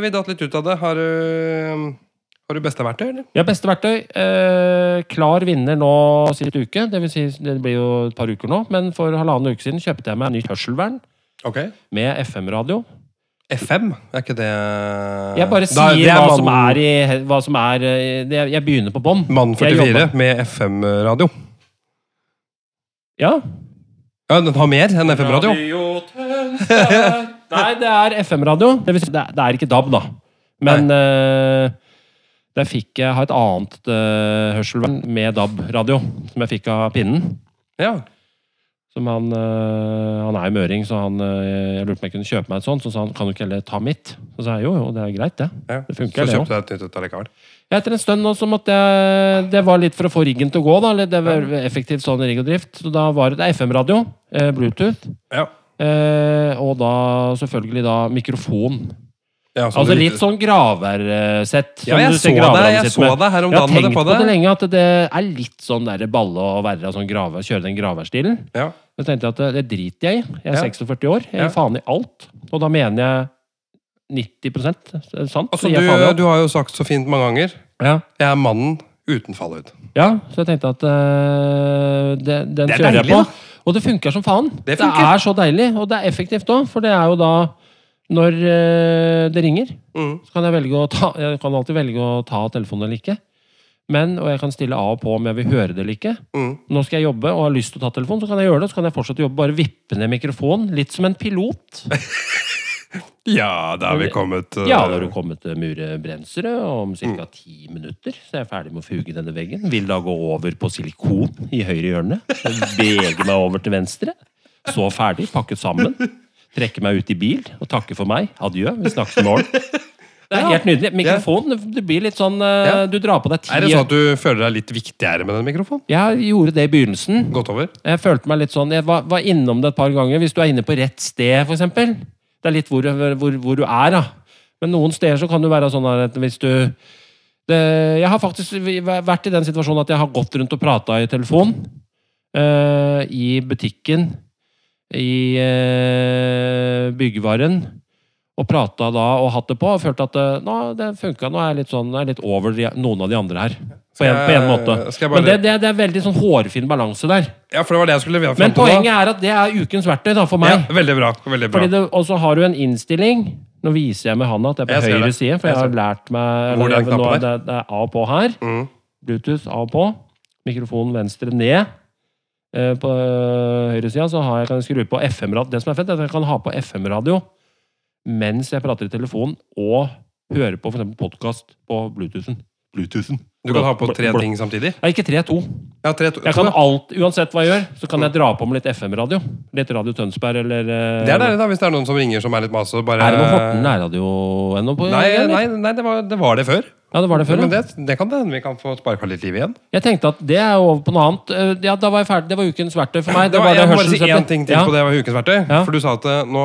A: Vi datt litt ut av det. Har du Har du beste verktøy, eller?
B: Ja, beste verktøy. Eh, klar vinner nå sist uke. Det, vil si, det blir jo et par uker nå, men for halvannen uke siden kjøpte jeg meg nytt hørselvern
A: Ok.
B: med FM-radio.
A: FM? Er ikke det
B: Jeg bare
A: Da-
B: sier
A: det
B: hva,
A: mann-
B: som er i, hva som er eh, det, Jeg begynner på bånn.
A: Mann
B: Jeg
A: 44
B: jobber.
A: med FM-radio.
B: Ja.
A: Ja, Den har mer enn FM-radio.
B: Nei, det er FM-radio. Det, vil si, det, er- det er ikke DAB, da. Men eh, der fikk jeg har et annet eh, hørselvern med DAB-radio, som jeg fikk av pinnen.
A: Ja.
B: Som han, øh, han er jo møring, så han, øh, jeg lurte på om jeg kunne kjøpe meg et sånt. Så sa han kan du ikke heller ta mitt? Så sa jeg jo, jo, det er greit, det.
A: ja.
B: Det
A: Så
B: funker, det
A: kjøpte
B: òg.
A: jeg et nytt ut allikevel.
B: Etter en stund nå så måtte jeg Det var litt for å få riggen til å gå, da. Eller det var effektivt sånn rigg og drift. Så da var det, det er FM-radio, eh, Bluetooth,
A: Ja.
B: eh, og da selvfølgelig da mikrofon.
A: Ja, så
B: Altså
A: du-
B: litt sånn graversett.
A: Ja, jeg så deg, jeg så deg her om
B: Jeg har
A: dagen med det
B: tenkt
A: på
B: på det
A: deg.
B: lenge, at det er litt sånn der balle å være sånn grave, kjøre den graverstilen.
A: Ja.
B: Da tenkte jeg at det, det driter jeg i. Jeg er
A: Ja.
B: 46 år. Jeg gir
A: Ja.
B: faen i alt. Og da mener jeg 90 er det sant.
A: Altså,
B: Så jeg gir faen i alt.
A: du, du har jo sagt så fint mange ganger
B: ja.
A: Jeg er mannen uten fallhud.
B: ja, så jeg tenkte at øh, det, den
A: Det er
B: kjører jeg på.
A: deilig,
B: Og det funker som faen.
A: Det funker.
B: er så deilig, og det er effektivt òg, for det er jo da når øh, det ringer,
A: Mm.
B: så kan jeg velge å ta Jeg kan alltid velge å ta telefonen eller ikke. Men, Og jeg kan stille av og på om jeg vil høre det eller ikke.
A: Mm.
B: Nå skal jeg jobbe og har lyst til å ta telefonen, så kan jeg gjøre det. Så kan jeg fortsette å jobbe, bare vippe ned mikrofonen. Litt som en pilot.
A: Ja, da har vi kommet uh,
B: Ja, da har du kommet til Mure Brensrud, og om ca.
A: Mm.
B: ti minutter så er jeg ferdig med å fuge denne veggen. Vil da gå over på silikon i høyre hjørne. Bege meg over til venstre. Så ferdig, pakket sammen. Trekke meg ut i bil og takke for meg. Adjø, vi snakkes i morgen. Det er
A: Ja.
B: helt nydelig. Mikrofon, det- det blir litt sånn eh,
A: Ja.
B: Du drar på deg
A: Er det sånn
B: ti
A: at du føler deg litt viktigere med den mikrofonen?
B: Jeg gjorde det i begynnelsen.
A: Gått over?
B: Jeg følte meg litt sånn Jeg var, var innom det et par ganger. Hvis du er inne på rett sted, f.eks. Det er litt hvor, hvor, hvor du er, da. Men noen steder så kan du være sånn at hvis du det, Jeg har faktisk vært i den situasjonen at jeg har gått rundt og prata i telefon. eh, I butikken. I eh, byggevaren. Og prata da og hatt det på. Og følte at eh, nå, det funka. Nå er jeg litt sånn, nå er jeg litt over de- noen av de andre her. På en, på en måte.
A: Skal jeg
B: Men det,
A: bare-
B: det, det er veldig sånn hårfin balanse der.
A: Ja, for det var det jeg skulle levere frem
B: Men
A: til
B: poenget er at det er ukens verktøy da, for
A: nå.
B: meg.
A: Ja, veldig bra. veldig bra
B: Fordi det, og så har du en innstilling. Nå viser jeg med handa at det
A: Jeg
B: er
A: ser
B: på høyre
A: det.
B: side, for
A: Jeg
B: jeg
A: ser
B: har lært meg
A: Hvor
B: eller,
A: den knappen
B: nå
A: er.
B: det, det er av og på her.
A: Mm.
B: Bluetooth av og på. Mikrofonen venstre ned. Eh, På høyre sida så har jeg, kan jeg skru på FM-radio. Det som er fett, er at jeg kan ha på FM-radio mens jeg prater i telefonen og hører på for eksempel podkast på Bluetoothen. Bluetoothen.
A: Du kan ha på tre ting samtidig?
B: Nei, ikke tre, to.
A: Ja, tre, to,
B: Jeg
A: to,
B: kan
A: ja.
B: alt, Uansett hva jeg gjør, så kan jeg dra på med litt FM-radio. Litt Radio Tønsberg eller eh,
A: Det er deilig, da, hvis det er noen som ringer som er litt masete. Bare...
B: Er det noe Horten nærradio ennå? på?
A: Nei,
B: eller?
A: nei, nei det, var, det var det før.
B: Ja, det var det før.
A: Men
B: Ja.
A: det, det kan det hende vi kan få sparka litt liv igjen.
B: Jeg tenkte at det er jo over på noe annet. Eh, Ja, da var jeg ferdig. Det var ukens verktøy for meg.
A: Det var, jeg må bare si
B: hørselssettet.
A: én ting til
B: ja.
A: på det var ukens verktøy.
B: Ja.
A: For du sa at eh, nå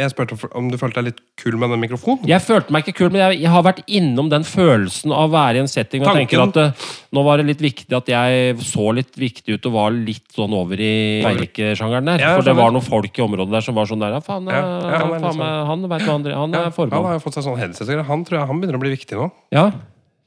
A: Jeg spurte om du følte deg litt kul med den mikrofonen.
B: Jeg følte meg ikke kul, men jeg, jeg har vært innom den følelsen av å være i en setting og
A: Tanken.
B: tenker at eh, nå var det litt viktig at jeg så litt viktig ut og var litt sånn over i verkesjangeren der.
A: Ja, jeg
B: For det
A: skjønner.
B: var noen folk i området der som var sånn der Ja, faen, eh,
A: Ja, ja, han er
B: han,
A: litt
B: faen meg, han vet hva han driver Han
A: Ja,
B: er formann.
A: han har jo fått seg sånn headset. og greier. Han tror jeg han begynner å bli viktig nå.
B: Ja.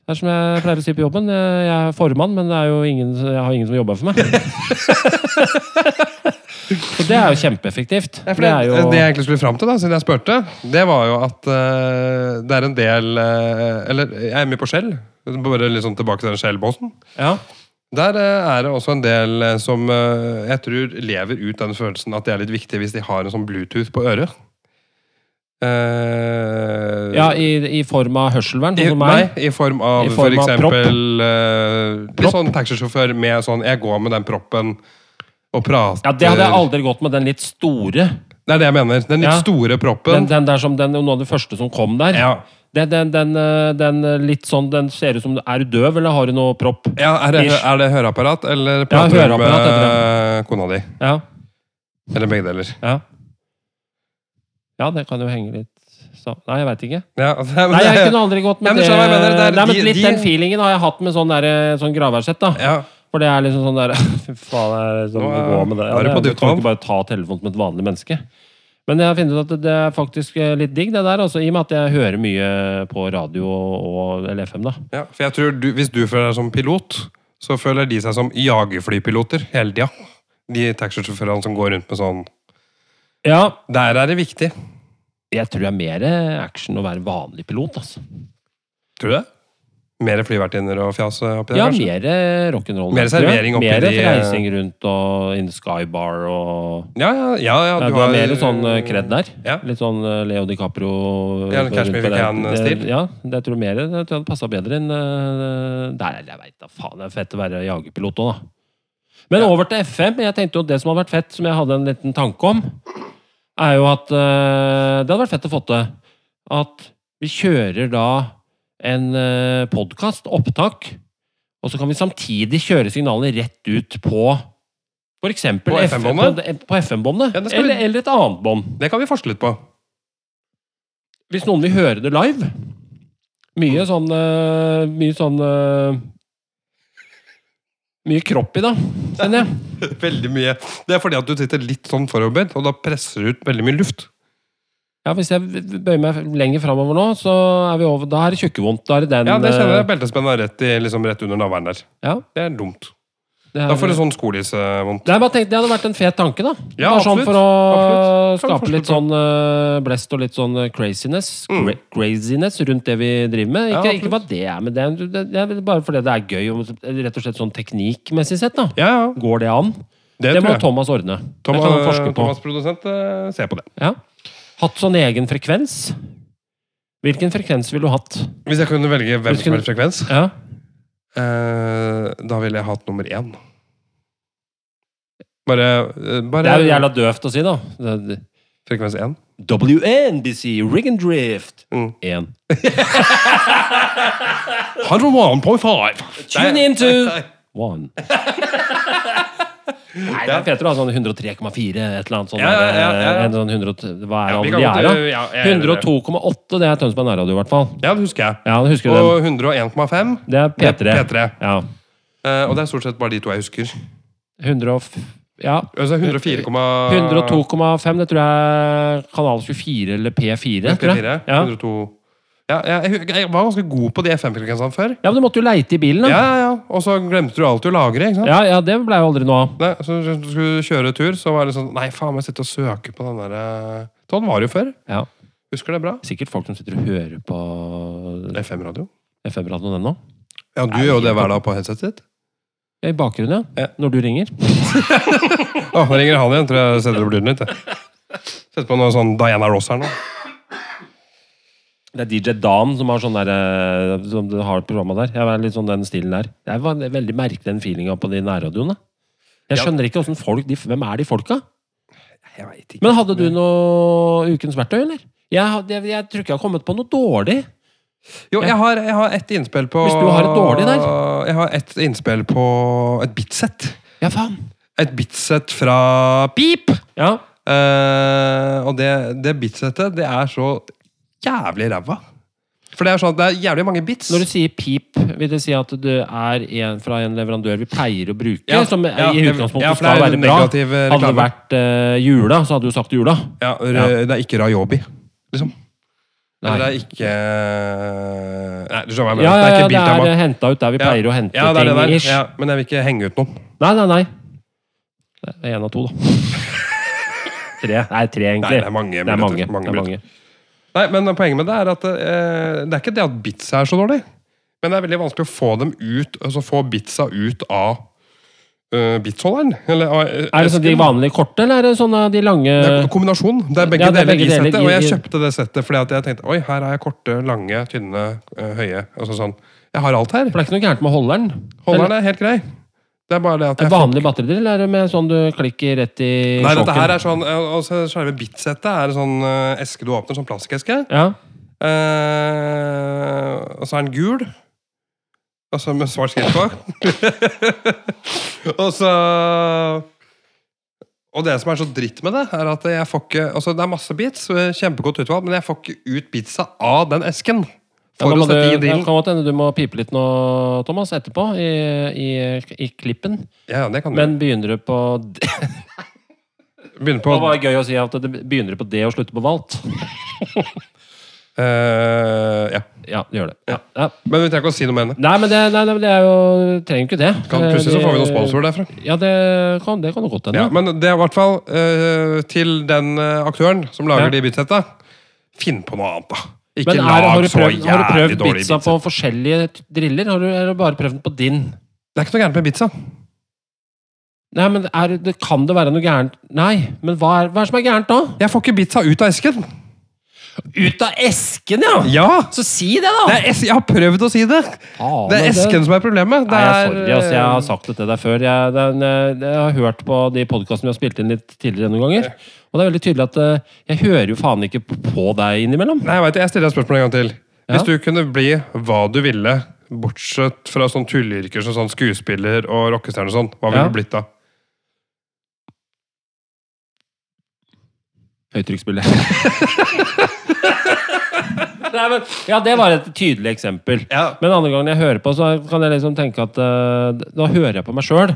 B: Det er som jeg pleier å si på jobben. eh, Jeg er formann, men det er jo ingen, jeg har ingen som jobber for meg. Så det er jo kjempeeffektivt.
A: Ja, for
B: Det er
A: det,
B: jo
A: det jeg egentlig skulle fram til, da, siden jeg spurte, det var jo at eh, det er en del eh, Eller jeg er mye på Skjell. Bare litt sånn tilbake til den Skjell-båsen.
B: ja.
A: Der eh, er det også en del eh, som eh, jeg tror lever ut den følelsen at det er litt viktig hvis de har en sånn Bluetooth på øret. Eh,
B: ja, i, i form av hørselvern,
A: I,
B: sånn som
A: nei,
B: meg.
A: i form av
B: I
A: for
B: form av propp.
A: eksempel eh, Litt sånn taxisjåfør med sånn Jeg går med den proppen og prater
B: Ja, Det hadde jeg aldri gått med, den litt store.
A: Det er det jeg mener. Den litt
B: Ja.
A: store
B: Den,
A: proppen.
B: den der som, den, noe av det første som kom der.
A: ja.
B: Den, den, den, eh, den eh, litt sånn, den ser ut som Er du døv, eller har du noe propp?
A: ja er, det,
B: Ish.
A: er det høreapparat, eller prater du
B: høreapparat
A: med
B: heter
A: eh, kona di?
B: Ja.
A: Eller begge deler.
B: Ja, ja det kan jo henge litt så. Nei, jeg veit ikke.
A: Ja, altså, men
B: Nei,
A: det-
B: jeg kunne aldri gått
A: Nei,
B: med
A: men
B: det.
A: skjønner hva jeg mener, det er-
B: Nei, men
A: de-
B: litt
A: de-
B: Den feelingen har jeg hatt med sånn, der, sånn graværssett. da.
A: ja.
B: For det er liksom sånn der Fy faen, det er sånn
A: Nå
B: det
A: er-
B: går med det.
A: nå er du på
B: det-
A: dypt
B: du kan
A: vann.
B: ikke bare ta telefonen som et vanlig menneske. Men jeg har funnet ut at det er faktisk eh, litt digg, det der. Altså, I og med at jeg hører mye på radio og, og eller FM, da.
A: ja, for jeg tror du, Hvis du føler deg som pilot, så føler de seg som jagerflypiloter hele tida. De taxisjåførene som går rundt med sånn
B: Ja,
A: Der er det viktig.
B: jeg tror det er mer action å være vanlig pilot, altså.
A: Tror du det? Mer flyvertinner og fjas oppi der,
B: Ja,
A: kanskje?
B: mer eh, rock'n'roll.
A: Mer servering oppi
B: mer
A: de, eh,
B: reising rundt og in skybar og
A: Ja, ja, ja, ja,
B: Ja, du har mer sånn eh, cred der.
A: Ja.
B: Litt sånn eh, Leo DiCaprio. eh,
A: Ja, Cash Me If You
B: rundt på den.
A: Can-stil.
B: Det- Ja, det tror jeg mer det tror jeg hadde passa bedre enn eh, Nei, jeg veit da faen. Det er fett å være jagerpilot òg, da. Men over til FM. Jeg tenkte jo det som hadde vært fett, som jeg hadde en liten tanke om, er jo at eh, Det hadde vært fett å få til at vi kjører da en uh, podkast, opptak, og så kan vi samtidig kjøre signalene rett ut på for eksempel
A: På
B: F-
A: FM-båndet?
B: på- På FM-båndet.
A: Ja, det skal vi-
B: eller, eller et annet bånd.
A: Det kan vi forske litt på.
B: Hvis noen vil høre det live. Mye
A: Mm.
B: sånn eh, Mye sånn eh, Mye kropp i, da, kjenner jeg.
A: Veldig mye. Det er fordi at du sitter litt sånn forover, og da presser du ut veldig mye luft.
B: Ja, Hvis jeg bøyer meg lenger framover nå, så er vi over. Da er det tjukkevondt. Da er det den
A: Ja, det kjenner jeg.
B: eh,
A: Beltespennet er rett, i, liksom rett under navlen der.
B: ja,
A: Det er dumt.
B: det er-
A: Da får du sånn skolissevondt.
B: Det, er bare tenkt, det hadde vært en fet tanke, da.
A: Ja,
B: Bare sånn
A: absolutt.
B: For å
A: Absolutt. Kan
B: skape
A: forstå
B: litt
A: det.
B: sånn eh, blest og litt sånn eh, craziness.
A: Mm.
B: Cra- Craziness rundt det vi driver med.
A: Ja,
B: Ikke, ikke
A: absolutt.
B: hva det er, men det er, det det er bare fordi det er gøy, og rett og slett sånn teknikkmessig sett. da.
A: Ja, ja.
B: Går det an?
A: Det, tror
B: Det, må
A: jeg.
B: Thomas ordne.
A: Thomas,
B: det kan han forske på.
A: Thomas produsent eh, ser på det.
B: Ja. Hatt sånn egen frekvens. Hvilken frekvens ville du hatt?
A: Hvis jeg kunne velge hvem
B: Hvis
A: som
B: kunne-
A: helst frekvens,
B: Ja.
A: eh, da ville jeg hatt nummer én. Bare, eh,
B: Det er jo
A: bare
B: jævla døvt å si, da. Det- det-
A: frekvens én.
B: WNBC Rig and Drift
A: Mm.
B: 1.
A: Har du one point five?
B: Tune
A: Nei.
B: into
A: Nei.
B: One. Nei, det er fetere å ha sånn 103,4 et eller annet sånn.
A: Ja, ja, ja, ja, ja.
B: En sånn 100, hva er
A: Ja, vi
B: det
A: kan
B: de er,
A: godt, eh,
B: da?
A: ja, jeg er enig i det.
B: 102,8, det er Tønsberg Nærradio, i hvert fall.
A: Ja, det husker jeg.
B: Ja, du husker du den?
A: Og 101,5.
B: Det er
A: Det
B: P3.
A: er P3.
B: Ja.
A: Eh, og det er stort sett bare de to jeg husker.
B: 100 og f ja.
A: Altså 104,
B: 102,5, det tror jeg er Kanal 24 eller P4. tror
A: 104,
B: jeg. Ja.
A: 102 ja, jeg, jeg- jeg var ganske god på de FM-frekvensene før.
B: ja, men du måtte jo leite i bilen,
A: Ja,
B: da.
A: ja, ja. Og så glemte du alltid å lagre. ikke sant?
B: Ja, ja, det ble jo aldri noe av.
A: Nei, så du skulle kjøre tur, så var det sånn Nei, faen, må jeg sitte og søke på den der eh, Sånn var det jo før.
B: Ja.
A: Husker det bra.
B: Sikkert folk som sitter og hører på
A: FM-radio.
B: FM-radioen ennå.
A: Ja, du gjør jo det hver dag på headsetet ditt.
B: Ja, I bakgrunnen,
A: Ja.
B: ja. Når du ringer.
A: Å, nå ringer han igjen. Tror jeg setter opp lyden litt. jeg. Setter på noe sånn Diana Ross her nå.
B: Det er DJ Dan som har sånn der, eh, som du har programmet der. Jeg er litt sånn den stilen der. Jeg var veldig merkelig den feelinga på de nærradioene. Jeg
A: Ja.
B: skjønner ikke hvordan folk, de, Hvem er de folka?
A: Jeg vet ikke.
B: Men hadde du noe Ukens verktøy, eller? Jeg, hadde- jeg, jeg tror ikke jeg har kommet på noe dårlig.
A: Jo, jeg har, jeg har ett innspill på
B: Hvis du har et dårlig der.
A: Jeg har ett innspill på et bitsett.
B: Ja, faen.
A: Et bitsett fra Pip!
B: Ja.
A: Eh, og det, det bitsettet, det er så jævlig ræva. For det er sånn at det er jævlig mange bits.
B: Når du sier pip, vil det si at du er en, fra en leverandør vi pleier å bruke?
A: Ja,
B: som
A: ja,
B: i
A: det-
B: utgangspunktet
A: ja, for det
B: skal
A: er
B: være bra.
A: negativ, eh,
B: Hadde det
A: reklame.
B: vært eh, jula, så hadde du sagt jula.
A: Ja, r-
B: Ja.
A: Det er ikke Rayobi, liksom.
B: Nei.
A: Eller det er ikke eh, Nei, du skjønner hva jeg mener.
B: Ja, ja,
A: det er
B: ja,
A: ikke
B: det er, eh,
A: Biltema.
B: er henta ut der vi
A: Ja.
B: pleier å hente
A: Ja, det er det
B: ting.
A: der.
B: ish.
A: Ja, men jeg vil ikke henge ut noen.
B: Nei, nei, nei. Det er én av to, da. tre. Nei, tre,
A: Nei,
B: egentlig.
A: det er mange.
B: det er mange.
A: minutter. mange
B: det er
A: minutter.
B: mange.
A: Nei, men poenget med det er at eh, det er ikke det at bitsa er så dårlig, men det er veldig vanskelig å få dem ut, altså få bitsa ut av eh, bitsholderen. Eller, av, eh,
B: Er det sånn de
A: esken.
B: vanlige korte, eller er det sånne de lange
A: Det er en kombinasjon. Det er begge
B: Eh, Ja, det
A: deler
B: er begge
A: i
B: deler
A: settet.
B: i-
A: Og jeg
B: i-
A: kjøpte det settet fordi at jeg tenkte oi, her har jeg korte, lange, tynne, eh, høye. Altså sånn. Jeg har alt her.
B: For det er ikke noe gærent med holderen?
A: Holderen er helt grei. Det er bare det at
B: En
A: jeg
B: vanlig batteridrill er det med sånn du klikker rett i
A: Nei, dette her
B: sjokken?
A: er sånn eh, altså, Selve bitsettet er en sånn eh, eske du åpner, sånn plaskeske.
B: Ja.
A: Eh, og så er den gul. Og så med svart skrift på. og så Og det som er så dritt med det, er at jeg får ikke Altså, det er masse beats, eh, kjempegodt utvalg, men jeg får ikke ut beatsa av den esken. For
B: Ja, da må
A: å sette
B: du,
A: i
B: det
A: drillen.
B: kan godt hende du må pipe litt nå, Thomas, etterpå, i, i, i klippen.
A: Ja, ja, det kan du.
B: Men begynner du på d-
A: Begynne på
B: Det var gøy å si at det begynner du på D og slutter på valt.
A: eh, Ja.
B: Ja, det gjør det. Ja. Ja.
A: Men vi trenger ikke å si noe mer om det.
B: Nei, men det, nei, nei, men det er jo Trenger ikke det. Eh,
A: Kan, plutselig så får vi noen sponsorer derfra.
B: Ja, det kan, det kan jo godt hende.
A: Ja, men det er i hvert fall eh, til den eh, aktøren som lager
B: Ja.
A: de beatsetta. Finn på noe annet, da. Ikke
B: Men er,
A: lag
B: har, du
A: så
B: prøvd, har du
A: jævlig
B: prøvd
A: dårlig
B: pizza på forskjellige t- driller? Har du, eller bare prøvd den på din?
A: Det er ikke noe gærent med pizza.
B: Nei, men er, det, Kan det være noe gærent? Nei, men hva er, hva er det som er gærent da?
A: Jeg får ikke pizza ut av esken.
B: Ut av esken, ja!
A: Ja!
B: Så si det,
A: Det
B: da!
A: er es jeg har prøvd å si det.
B: Faen,
A: Det er
B: men
A: esken som er problemet. Det
B: Nei, jeg, er
A: er,
B: sorry, altså, jeg har sagt det til deg før. Jeg, den, eh, jeg har hørt på de podkastene vi har spilt inn litt tidligere noen ganger. Og det er veldig tydelig at eh, jeg hører jo faen ikke på deg innimellom.
A: Nei, jeg, vet, jeg stiller deg et spørsmål en gang til.
B: Ja.
A: Hvis du kunne bli hva du ville, bortsett fra sånn tulleyrker som sånn skuespiller og rockestjerne og sånn, hva ville
B: Ja.
A: du blitt da?
B: Høytrykksbilde. Nei, men, ja, det var et tydelig eksempel.
A: Ja.
B: Men andre gangen jeg hører på, så kan jeg liksom tenke at eh, Nå hører jeg på meg sjøl.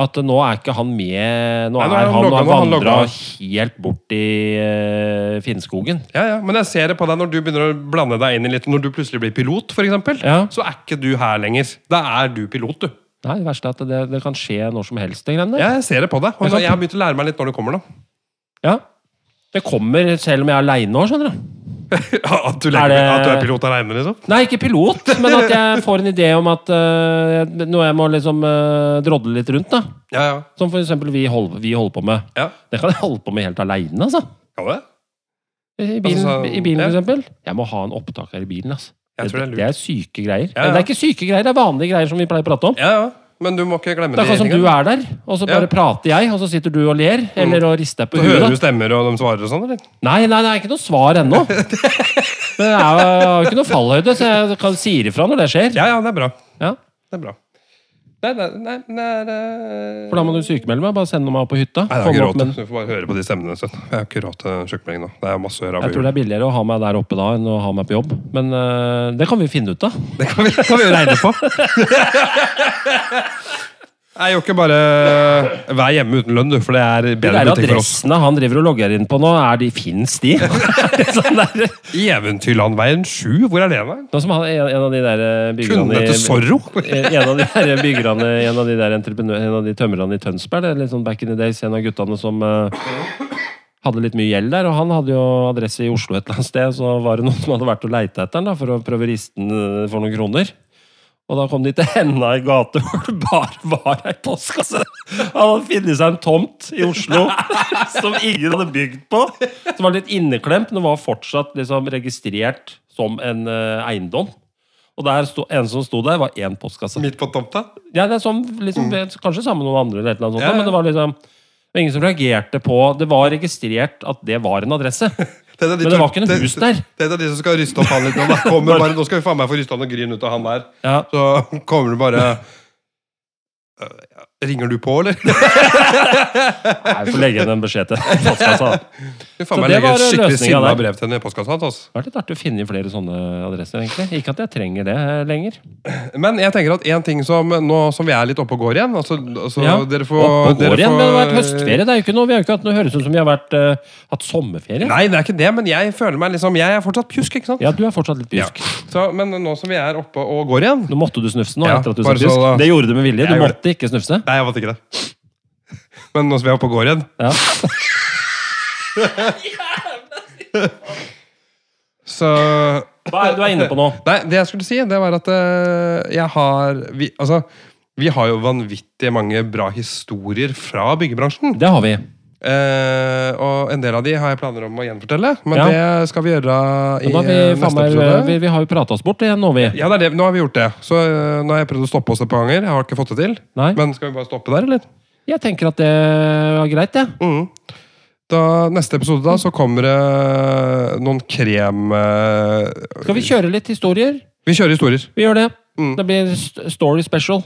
B: At nå er ikke han med Nå
A: Nei,
B: er
A: nå er han logget,
B: han, han
A: nå er han
B: vandra
A: logget.
B: helt bort i eh, Finnskogen.
A: Ja, ja, Men jeg ser det på deg når du begynner å blande deg inn i litt Når du plutselig blir pilot, for eksempel,
B: Ja.
A: så er ikke du her lenger. Da er du pilot, du.
B: Nei, det verste er at det, det kan skje når som helst, de greiene der.
A: Jeg ser det på deg. Og
B: Jeg kan-
A: jeg har begynt å lære meg litt når du kommer, da.
B: Ja. Det kommer selv om jeg er aleine nå, skjønner du.
A: At du,
B: Er
A: legger,
B: det-
A: at du er pilot aleine, liksom.
B: Nei, ikke pilot, men at jeg får en idé om at eh, jeg- noe jeg må liksom eh, drodle litt rundt. da
A: Ja, ja.
B: Som for eksempel vi holder, vi holder på med.
A: ja.
B: Det kan jeg holde på med helt aleine, altså.
A: Kan du det?
B: I bilen,
A: Altså, så-
B: i bilen
A: ja.
B: for eksempel. Jeg må ha en opptaker i bilen, altså.
A: Jeg tror det er
B: det,
A: lurt.
B: er syke greier.
A: Ja, ja.
B: Det er ikke syke greier, det er vanlige greier som vi pleier å prate om.
A: Ja, ja. Men du må ikke glemme
B: Det er akkurat som du
A: engang.
B: er der, og så bare
A: Ja. Mm.
B: prater jeg, og så sitter du og ler. Eller og rister deg
A: Så
B: på
A: hører
B: huet.
A: du stemmer, og de svarer og sånn, eller?
B: Nei, nei, det er ikke noe svar ennå. Men jeg har jeg har ikke noe fallhøyde, så jeg kan si ifra når det skjer.
A: Ja, ja, det er bra.
B: Ja.
A: Det er bra. Nei, nei, nei, nei, nei.
B: For da må du sykemelde meg. Bare sende meg opp på hytta.
A: Nei, det er ikke
B: Komme
A: råd.
B: opp med en-
A: Du får bare høre på de stemmene. Så. Jeg har ikke råd til sjukmelding nå. Det er masse å gjøre.
B: Jeg tror det er billigere å ha meg der oppe da enn å ha meg på jobb. Men eh, det kan vi finne ut av.
A: Det kan vi, kan vi jo regne på. Jeg gjør ikke bare vær hjemme uten lønn, du, for det er
B: De
A: bedre
B: der
A: butikk for oss.
B: adressene han driver og logger inn på nå, er de, fins de? Er det sånn der?
A: I Eventyrlandveien 7, hvor er det? da?
B: Nå som han, en, en av de der eh, byggerne
A: Kundene til
B: i-
A: Zorro?
B: en av de der byggerne, en av de der entreprenør, en av de tømrerne i Tønsberg, det er litt sånn back in the days, en av guttene som eh, hadde litt mye gjeld der, og han hadde jo adresse i Oslo et eller annet sted, så var det noen som hadde vært og leita etter han da, for å prøve å riste den eh, for noen kroner. Og da kom de til henda i gate hvor det bare var ei postkasse. Han hadde funnet seg en tomt i Oslo som ingen hadde bygd på. Som var litt inneklemt, men var fortsatt liksom registrert som en eh, eiendom. Og der sto, en som sto der, var én postkasse.
A: Midt på tomta?
B: Ja, det er sånn, liksom, Kanskje sammen med noen andre, eller et eller annet sånt,
A: Mm. Ja, ja.
B: men det var liksom det var ingen som reagerte på Det var registrert at det var en adresse.
A: Det er de
B: Men det
A: to-
B: var ikke noe hus der.
A: Det er de som skal ryste opp han litt nå. Da kommer bare, nå skal vi faen meg få rysta noe gryn ut av han der.
B: Ja.
A: Så kommer du bare Øh, ja, Ringer du på, eller?
B: Nei, jeg får legge igjen en beskjed til postkassa. Det
A: Du faen
B: Så
A: meg
B: det
A: legger
B: var
A: et skikkelig
B: løsningen
A: sinna
B: der.
A: brev til altså. henne i postkassa hans.
B: har vært litt artig å finne flere sånne adresser, egentlig. Ikke at jeg trenger det eh, lenger.
A: Men jeg tenker at en ting som nå som vi er litt oppe og går igjen altså, altså,
B: Ja.
A: dere får,
B: Opp og
A: dere
B: går igjen, men det har vært
A: får-
B: høstferie. Det er jo ikke noe, vi har jo ikke hatt noe høres ut som vi har vært, eh, hatt sommerferie.
A: Nei, det er ikke det, men jeg føler meg liksom Jeg er fortsatt pjusk, ikke sant?
B: Ja, du er fortsatt litt pjusk.
A: Så, men nå som vi er oppe og går igjen
B: Nå måtte du snufse nå
A: Ja,
B: etter at du sa
A: bare så
B: pjusk.
A: da-
B: Det gjorde du med vilje.
A: Jeg
B: Du
A: gjorde
B: måtte ikke snufse.
A: Nei, jeg måtte ikke det. Men nå som vi er oppe og går igjen,
B: Ja.
A: så
B: Hva er det du er inne på nå?
A: Nei, det jeg skulle si, det var at eh, jeg har vi, Altså, vi har jo vanvittig mange bra historier fra byggebransjen.
B: Det har vi.
A: Eh, og og en del av de har jeg planer om å gjenfortelle. Men
B: Ja.
A: det skal vi gjøre i
B: Men da har vi,
A: eh,
B: faen
A: neste
B: meg,
A: episode.
B: vi, vi har jo prata oss bort igjen nå, vi.
A: Ja, det er det. Nå har vi gjort det. Så øh, nå har jeg prøvd å stoppe oss et par ganger. Jeg har ikke fått det til.
B: Nei.
A: Men skal vi bare stoppe der, eller?
B: Jeg tenker at det var greit, det.
A: Mm. Da, neste episode da, så kommer det noen krem... øh,
B: Skal vi kjøre litt historier?
A: Vi kjører historier.
B: Vi gjør det.
A: Mm.
B: Det blir st- story special.